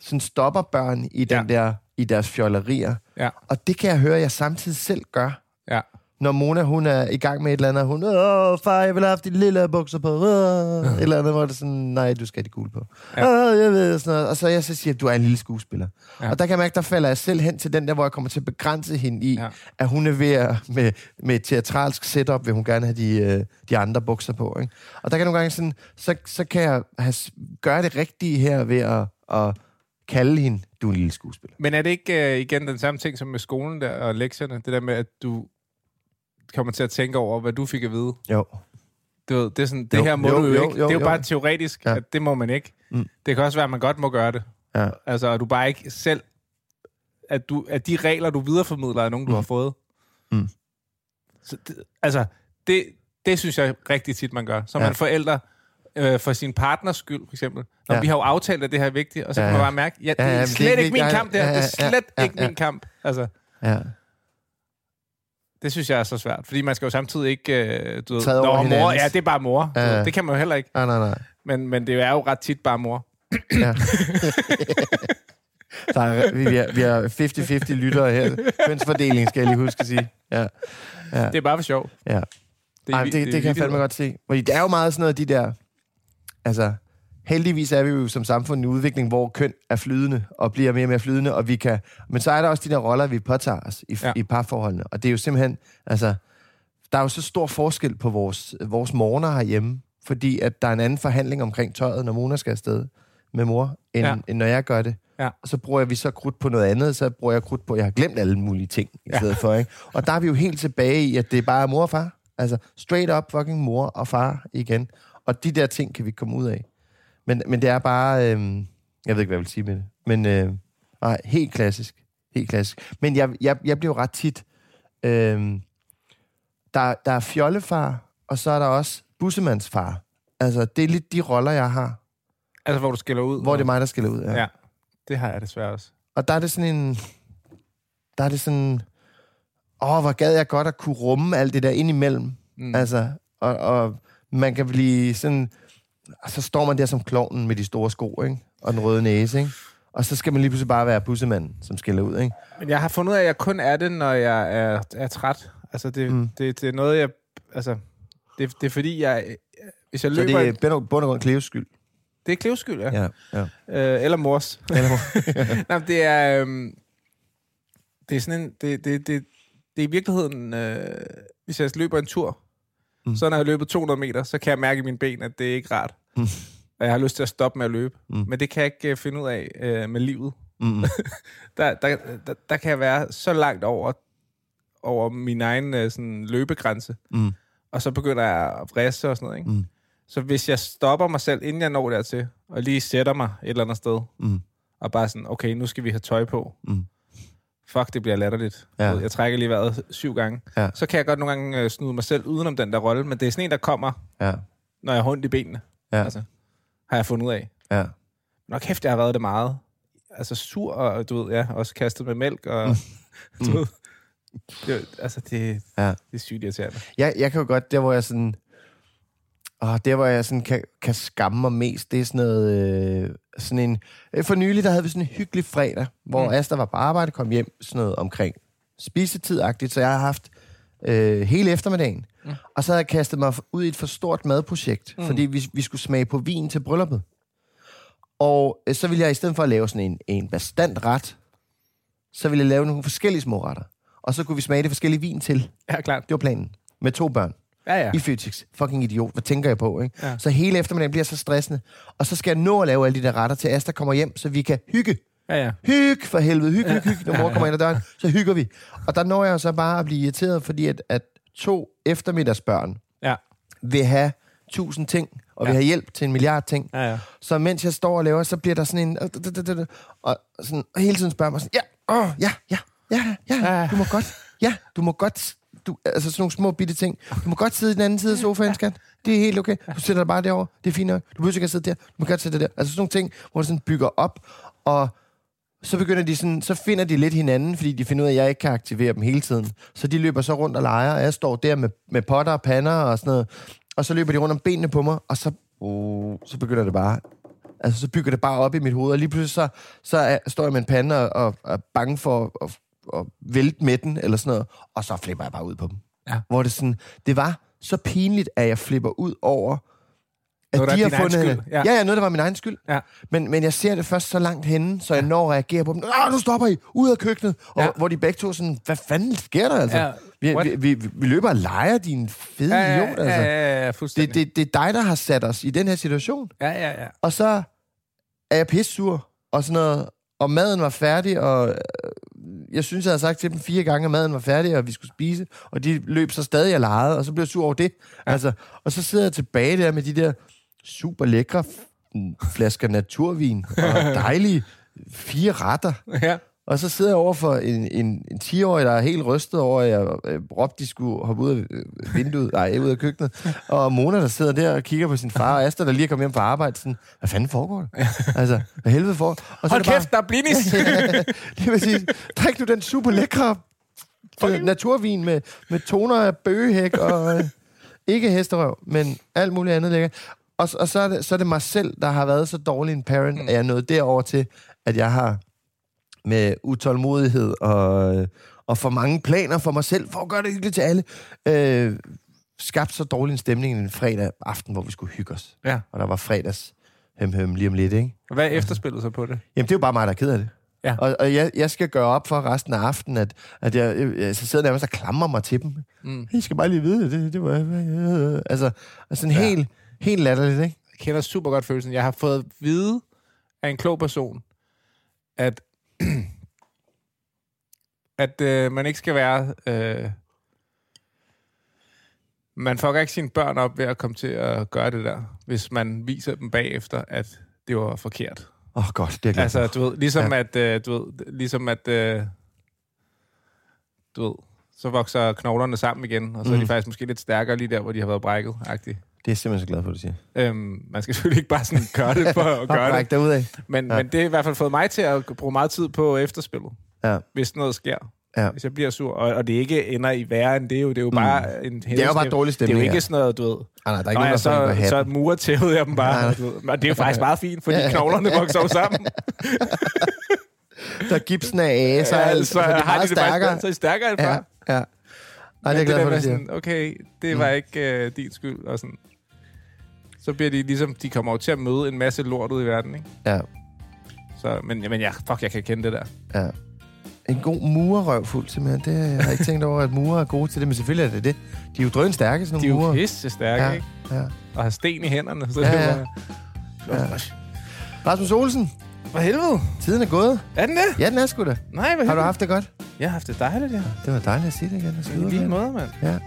Speaker 1: sådan stopper børn i, den
Speaker 2: Ja.
Speaker 1: der, i deres fjollerier.
Speaker 2: Ja.
Speaker 1: Og det kan jeg høre, at jeg samtidig selv gør
Speaker 2: Ja.
Speaker 1: når Mona, hun er i gang med et eller andet, og hun, åh, far, jeg vil have haft de lille bukser på, åh, et eller andet, hvor det er sådan, nej, du skal have de gule på. Ja. Åh, jeg ved, sådan noget. Og så jeg så siger, du er en lille skuespiller. Ja. Og der kan jeg mærke, der falder jeg selv hen til den der, hvor jeg kommer til at begrænse hende i, ja.
Speaker 2: Ja.
Speaker 1: at hun er ved at, med, med et teatralsk setup, vil hun gerne have de, øh, de andre bukser på. Ikke? Og der kan nogle gange sådan, så, så kan jeg have, s- gøre det rigtige her ved at, at kalde hende, du er en lille skuespiller.
Speaker 2: Men er det ikke øh, igen den samme ting som med skolen der, og lektierne? Det der med, at du kommer til at tænke over, hvad du fik at vide.
Speaker 1: Jo.
Speaker 2: Du ved, det er sådan, det
Speaker 1: Jo,
Speaker 2: her må
Speaker 1: jo,
Speaker 2: du jo,
Speaker 1: jo,
Speaker 2: ikke.
Speaker 1: jo,
Speaker 2: det er jo,
Speaker 1: jo.
Speaker 2: bare teoretisk,
Speaker 1: Ja.
Speaker 2: ja. at det må man ikke. Mm. Det kan også være, at man godt må gøre det.
Speaker 1: Ja.
Speaker 2: Altså, og du bare ikke selv... At, du, at de regler, du videreformidler, er nogen, du mm. har fået.
Speaker 1: Mm.
Speaker 2: Så det, altså, det, det synes jeg rigtig tit, man gør. Som
Speaker 1: Ja.
Speaker 2: ja. man forælder øh, for sin partners skyld, for eksempel.
Speaker 1: Ja.
Speaker 2: Når ja. vi har jo aftalt, at det her er vigtigt, og så
Speaker 1: Ja,
Speaker 2: ja. kan man
Speaker 1: ja.
Speaker 2: bare mærke, ja,
Speaker 1: Ja,
Speaker 2: det
Speaker 1: ja,
Speaker 2: er
Speaker 1: men
Speaker 2: slet det er ikke min
Speaker 1: vigtigt.
Speaker 2: kamp, det her.
Speaker 1: Ja,
Speaker 2: Det
Speaker 1: ja,
Speaker 2: er
Speaker 1: ja,
Speaker 2: slet
Speaker 1: ja,
Speaker 2: ikke
Speaker 1: ja.
Speaker 2: min kamp. Altså,
Speaker 1: Ja.
Speaker 2: Det synes jeg er så svært, fordi man skal jo samtidig ikke... Øh, du ved,
Speaker 1: Træde over
Speaker 2: "Nå, mor,
Speaker 1: hinandens."
Speaker 2: ja, det er bare mor. Du
Speaker 1: Ja.
Speaker 2: ved, Det kan man jo heller ikke.
Speaker 1: Nej, nej, nej.
Speaker 2: Men, men det er jo ret tit bare mor.
Speaker 1: Ja. Der er, vi, vi er- vi har 50-50 lyttere her. Kønsfordeling, skal jeg lige huske at sige. Ja.
Speaker 2: Det er bare for sjov.
Speaker 1: Ja. Det, Ej,
Speaker 2: vi-
Speaker 1: det, det, det kan jeg
Speaker 2: vittigheder.
Speaker 1: fandme godt se. Fordi det er jo meget sådan noget, de der... Altså, heldigvis er vi jo som samfund i en udvikling, hvor køn er flydende og bliver mere og mere flydende, og vi kan... Men så er der også de der roller, vi påtager os i,
Speaker 2: Ja.
Speaker 1: ja. i parforholdene. Og det er jo simpelthen... Altså, der er jo så stor forskel på vores, vores morgener herhjemme, fordi at der er en anden forhandling omkring tøjet, når Mona skal afsted med mor, end,
Speaker 2: Ja.
Speaker 1: ja. end når jeg gør det.
Speaker 2: Ja.
Speaker 1: Og så bruger jeg, vi så krudt på noget andet, så bruger jeg krudt på, jeg har glemt alle mulige ting i stedet for. Ikke? Og der er vi jo helt tilbage i, at det er bare mor og far. Altså straight up fucking mor og far igen. Og de der ting kan vi ikke komme ud af. Men, men det er bare, øhm, jeg ved ikke, hvad jeg vil sige med det, men øh, nej, helt klassisk. Helt klassisk. Men jeg, jeg, jeg bliver jo ret tit, øhm, der, der er fjollefar, og så er der også bussemandsfar. Altså, det er lidt de roller, jeg har,
Speaker 2: Altså, hvor du skiller ud.
Speaker 1: hvor det er mig, der skal ud.
Speaker 2: Ja, det har jeg desværre også.
Speaker 1: Og der er det sådan en... Der er det sådan... Åh, hvor gad jeg godt at kunne rumme alt det der indimellem. Mm. Altså, og, og man kan blive sådan... og Så står man der som klovnen med de store sko, ikke? Og den røde næse, ikke? Og så skal man lige pludselig bare være bussemanden, som skiller ud, ikke?
Speaker 2: Men jeg har fundet ud af, at jeg kun er det, når jeg er, er træt. Altså, det, mm. det, det er noget, jeg... Altså, det, det er fordi, jeg... øh, Hvis jeg
Speaker 1: Så
Speaker 2: løber...
Speaker 1: det er
Speaker 2: det,
Speaker 1: bund og- bund og grund Cleos skyld.
Speaker 2: det er klevskyld, ja.
Speaker 1: Ja, ja.
Speaker 2: Øh, eller mors.
Speaker 1: Eller,
Speaker 2: Nej, men det er... Øhm, det er sådan en... Det, det, det, det er i virkeligheden... Øh, hvis jeg løber en tur, mm. så når jeg har løbet 200 meter, så kan jeg mærke i mine ben, at det er ikke rart. Mm. Og jeg har lyst til at stoppe med at løbe. Mm. Men det kan jeg ikke øh, finde ud af øh, med livet.
Speaker 1: Mm.
Speaker 2: *laughs* der, der, der, der kan jeg være så langt over, over min egen øh, sådan, løbegrænse.
Speaker 1: Mm.
Speaker 2: Og så begynder jeg at vriste og sådan noget. Ikke? Mm. Så hvis jeg stopper mig selv, inden jeg når dertil, og lige sætter mig et eller andet sted,
Speaker 1: Mm.
Speaker 2: og bare sådan, okay, nu skal vi have tøj på.
Speaker 1: Mm.
Speaker 2: Fuck, det bliver latterligt.
Speaker 1: Ja.
Speaker 2: Ja. Jeg trækker lige vejret syv gange.
Speaker 1: Ja.
Speaker 2: Så kan jeg godt nogle gange øh, snude mig selv udenom den der rolle, men det er sådan en, der kommer,
Speaker 1: ja,
Speaker 2: når jeg har ondt i benene.
Speaker 1: Ja.
Speaker 2: Altså, har jeg fundet ud af.
Speaker 1: ja.
Speaker 2: Nok kæft, jeg har været det meget. Altså sur, og du ved, ja, også kastet med mælk, og *laughs* du ved, det, er- altså det,
Speaker 1: Mm. Ja.
Speaker 2: ja. det er sygt irriterende.
Speaker 1: Jeg, jeg kan jo godt, der hvor jeg sådan... Åh, der hvor jeg sådan kan, kan skamme mig mest, det er sådan noget... Øh, sådan en, øh, for nylig, der havde vi sådan en hyggelig fredag, hvor mm. Asta var på arbejde, kom hjem, sådan noget omkring spisetidagtigt, så jeg har haft øh, hele eftermiddagen. Mm. Og så havde jeg kastet mig ud i et for stort madprojekt, mm. fordi vi, vi skulle smage på vin til brylluppet. Og øh, så ville jeg i stedet for at lave sådan en, en bastant ret, så ville jeg lave nogle forskellige små retter. Og så kunne vi smage det forskellige vin til.
Speaker 2: Ja, klart.
Speaker 1: Det var planen. Med to børn.
Speaker 2: Ja, ja.
Speaker 1: I fysisk. Fucking idiot. Hvad tænker jeg på, ikke?
Speaker 2: Ja.
Speaker 1: Ja. Så hele eftermiddagen bliver så stressende. Og så skal jeg nå at lave alle de der retter, til Asta kommer hjem, så vi kan hygge.
Speaker 2: Ja, ja.
Speaker 1: Hyg for helvede, hyg, hyg, hyg. Når mor kommer ind ad døren, så hygger vi. Og der når jeg jo så bare at blive irriteret, fordi at, at to eftermiddagsbørn
Speaker 2: Ja,
Speaker 1: vil have tusind ting, og ja. vil have hjælp til en milliard ting.
Speaker 2: ja, ja.
Speaker 1: Så mens jeg står og laver, så bliver der sådan en... Og, sådan, og hele tiden spørger mig sådan, ja, åh, ja, ja, ja, ja, du må godt, ja, du må godt... Du, altså sådan nogle små bitte ting. Du må godt sidde i den anden side af sofaen, skat. Det er helt okay. Du sætter dig bare derover. Det er fint nok. Du behøver ikke at sidde der. Du må godt sætte dig der. Altså sådan nogle ting, hvor det sådan bygger op, og så begynder de sådan, så finder de lidt hinanden, fordi de finder ud af, at jeg ikke kan aktivere dem hele tiden. Så de løber så rundt og leger, og jeg står der med, med potter og pander og sådan noget. Og så løber de rundt om benene på mig, og så, uh, så begynder det bare. Altså, så bygger det bare op i mit hoved, og lige pludselig så, så er, står jeg med en pande og, og, og er bange for at, at, at vælte med den, eller sådan noget, og så flipper jeg bare ud på dem.
Speaker 2: Ja.
Speaker 1: Hvor det sådan, det var så pinligt, at jeg flipper ud over, at
Speaker 2: Noget, der er
Speaker 1: de har
Speaker 2: din egen
Speaker 1: fundet...
Speaker 2: skyld.
Speaker 1: Ja.
Speaker 2: Ja.
Speaker 1: ja, ja, noget, der var min egen skyld.
Speaker 2: Ja.
Speaker 1: Men, men jeg ser det først så langt henne, så jeg når at reagere på dem. Ah, nu stopper I! Ud af køkkenet! Og
Speaker 2: Ja.
Speaker 1: hvor de begge to sådan, hvad fanden sker der altså?
Speaker 2: Ja,
Speaker 1: Vi,
Speaker 2: what?
Speaker 1: vi, vi, vi- vi løber og leger, din fede
Speaker 2: Ja, ja,
Speaker 1: idiot,
Speaker 2: ja,
Speaker 1: altså.
Speaker 2: ja, ja,
Speaker 1: Det,
Speaker 2: fuldstændig.
Speaker 1: det, det er dig, der har sat os i den her situation.
Speaker 2: Ja, ja, ja.
Speaker 1: Og så er jeg pissur og sådan noget. Og maden var færdig, og øh, jeg synes, jeg havde sagt til dem fire gange, at maden var færdig, og vi skulle spise. Og de løb så stadig og legede, og så blev jeg sur over det. Ja. Altså, og så sidder jeg tilbage der med de der super lækre f- flasker naturvin og
Speaker 2: *laughs*
Speaker 1: dejlige fire retter.
Speaker 2: Ja.
Speaker 1: Og så sidder jeg over for en, en, en 10-årig, der er helt rystet over, at jeg øh, råbte, de skulle hoppe ud af øh, vinduet, nej, ud af køkkenet. Og Mona, der sidder der og kigger på sin far, og Asta, der lige er kommet hjem fra arbejde, sådan, hvad fanden foregår der? Altså, hvad helvede for? Og så er
Speaker 2: Hold
Speaker 1: det bare- *laughs*
Speaker 2: kæft, der er blinis!
Speaker 1: lige præcis. Drik nu den super lækre fucking... naturvin med, med toner af bøgehæk og øh, ikke hesterøv, men alt muligt andet lækkert. Og, s- og så, er det, så er det mig selv, der har været så dårlig en parent, mm. at jeg er nået derover til, at jeg har med utålmodighed og, øh, og for mange planer for mig selv, for at gøre det hyggeligt til alle, øh, skabt så dårlig en stemning en fredag aften, hvor vi skulle hygge os.
Speaker 2: Ja.
Speaker 1: Og der var fredags høm, høm lige om lidt, ikke?
Speaker 2: Og *laughs* Hvad er efterspillet så på det?
Speaker 1: Jamen, det er jo bare mig, der er ked af det.
Speaker 2: Ja.
Speaker 1: Og, og jeg, jeg skal gøre op for resten af aftenen, at, at jeg, jeg, jeg så sidder nærmest og klamrer mig til dem. Mm. I skal bare lige vide, det, det, det var... øh, Altså, altså en ja. helt, helt latterligt, ikke?
Speaker 2: Jeg kender super godt følelsen. Jeg har fået at vide af en klog person, at, *clears throat* at øh, man ikke skal være... Øh, man fucker ikke sine børn op ved at komme til at gøre det der, hvis man viser dem bagefter, at det var forkert.
Speaker 1: Åh, oh, godt, det er jeg glad
Speaker 2: Altså,
Speaker 1: for.
Speaker 2: du ved, ligesom ja. at, øh, du ved, ligesom at, øh, du ved, så vokser knoglerne sammen igen, og så mm. er de faktisk måske lidt stærkere lige der, hvor de har været brækket, agtigt.
Speaker 1: Det er jeg simpelthen så glad for, du siger.
Speaker 2: Øhm, man skal *laughs* selvfølgelig ikke bare sådan gøre det for at gøre det.
Speaker 1: derud af.
Speaker 2: Men, ja. men det har i hvert fald fået mig til at bruge meget tid på efterspillet,
Speaker 1: Ja.
Speaker 2: hvis sådan noget sker.
Speaker 1: Ja.
Speaker 2: Hvis jeg bliver sur, og, og det ikke ender i værre end det, jo, det er jo bare mm. en
Speaker 1: Det er jo bare dårlig
Speaker 2: Det er
Speaker 1: stemning,
Speaker 2: jo
Speaker 1: ja.
Speaker 2: ikke sådan noget, du ved.
Speaker 1: Ah, nej, der er ikke
Speaker 2: Nå
Speaker 1: nogen, der falder på
Speaker 2: ja, så, så
Speaker 1: hatten.
Speaker 2: murer tævede jeg dem
Speaker 1: *laughs* Nej,
Speaker 2: bare.
Speaker 1: nej.
Speaker 2: du ved. Og det er jo faktisk meget fint, fordi knoglerne vokser jo
Speaker 1: *laughs*
Speaker 2: sammen.
Speaker 1: Der gipsen er af, så, ja, altså, så det er
Speaker 2: har de
Speaker 1: meget
Speaker 2: det faktisk
Speaker 1: stærkere.
Speaker 2: bedre, så er de stærkere end far.
Speaker 1: ja,
Speaker 2: Ja.
Speaker 1: ja. Nej, det er jeg
Speaker 2: det
Speaker 1: glad
Speaker 2: der
Speaker 1: for,
Speaker 2: med
Speaker 1: du siger. Mm.
Speaker 2: sådan, okay, det var ikke øh, din skyld, og sådan. Så bliver de ligesom, de kommer jo til at møde en masse lort ud i verden, ikke?
Speaker 1: Ja,
Speaker 2: Så, men men ja, fuck, jeg kan kende det der.
Speaker 1: ja. En god murerøv fuld, simpelthen. Det har jeg ikke tænkt over, at murer er gode til det, men selvfølgelig er det det. De er jo drøn stærke, sådan
Speaker 2: De
Speaker 1: nogle
Speaker 2: er jo
Speaker 1: murer.
Speaker 2: pisse stærke,
Speaker 1: Ja,
Speaker 2: ja. ikke?
Speaker 1: ja.
Speaker 2: Og har sten i hænderne. Så
Speaker 1: Ja,
Speaker 2: ja, det
Speaker 1: ja.
Speaker 2: er bare, ja.
Speaker 1: Rasmus Olsen,
Speaker 2: For helvede.
Speaker 1: tiden er gået.
Speaker 2: Er den det?
Speaker 1: Ja, den er sgu da.
Speaker 2: Nej, hvad
Speaker 1: Har du
Speaker 2: helvede.
Speaker 1: haft det godt?
Speaker 2: Jeg har haft det dejligt, ja.
Speaker 1: Det var dejligt at sige det igen. og så
Speaker 2: I
Speaker 1: videre.
Speaker 2: lige måde, mand.
Speaker 1: Ja.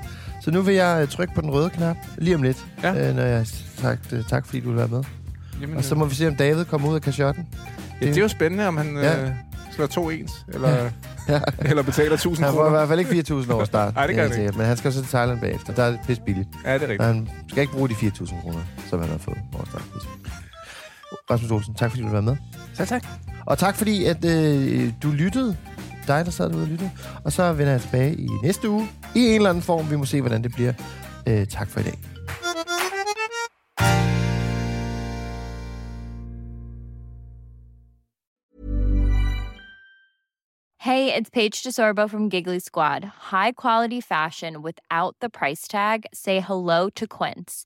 Speaker 1: Så nu vil jeg øh, trykke på den røde knap lige om lidt,
Speaker 2: Ja.
Speaker 1: øh, når jeg har sagt øh, tak, fordi du vil være med.
Speaker 2: Jamen,
Speaker 1: Og så må vi se, om David kommer ud af kashotten.
Speaker 2: ja, det er jo spændende, om han
Speaker 1: Ja.
Speaker 2: ja. øh, slår to ens, eller, eller betaler 1000
Speaker 1: Han får i
Speaker 2: kroner.
Speaker 1: hvert fald ikke 4.000 over start.
Speaker 2: *laughs* Nej, det gør
Speaker 1: er
Speaker 2: han
Speaker 1: sikkert. Men han skal så til Thailand bagefter. Der er det pisse billigt.
Speaker 2: Ja, det er
Speaker 1: Og
Speaker 2: rigtigt.
Speaker 1: han skal ikke bruge de 4.000 kroner, som han har fået over start. Rasmus Olsen, tak fordi du vil være med.
Speaker 2: Selv tak.
Speaker 1: Og tak fordi, at øh, du lyttede. Dig, der sad derude og lyttede. Og så vender jeg tilbage i næste uge. I en eller anden form. Vi må se, hvordan det bliver. Øh, tak for i dag.
Speaker 4: Hey, it's Paige DeSorbo from Giggly Squad. High quality fashion without the price tag. Say hello to Quince.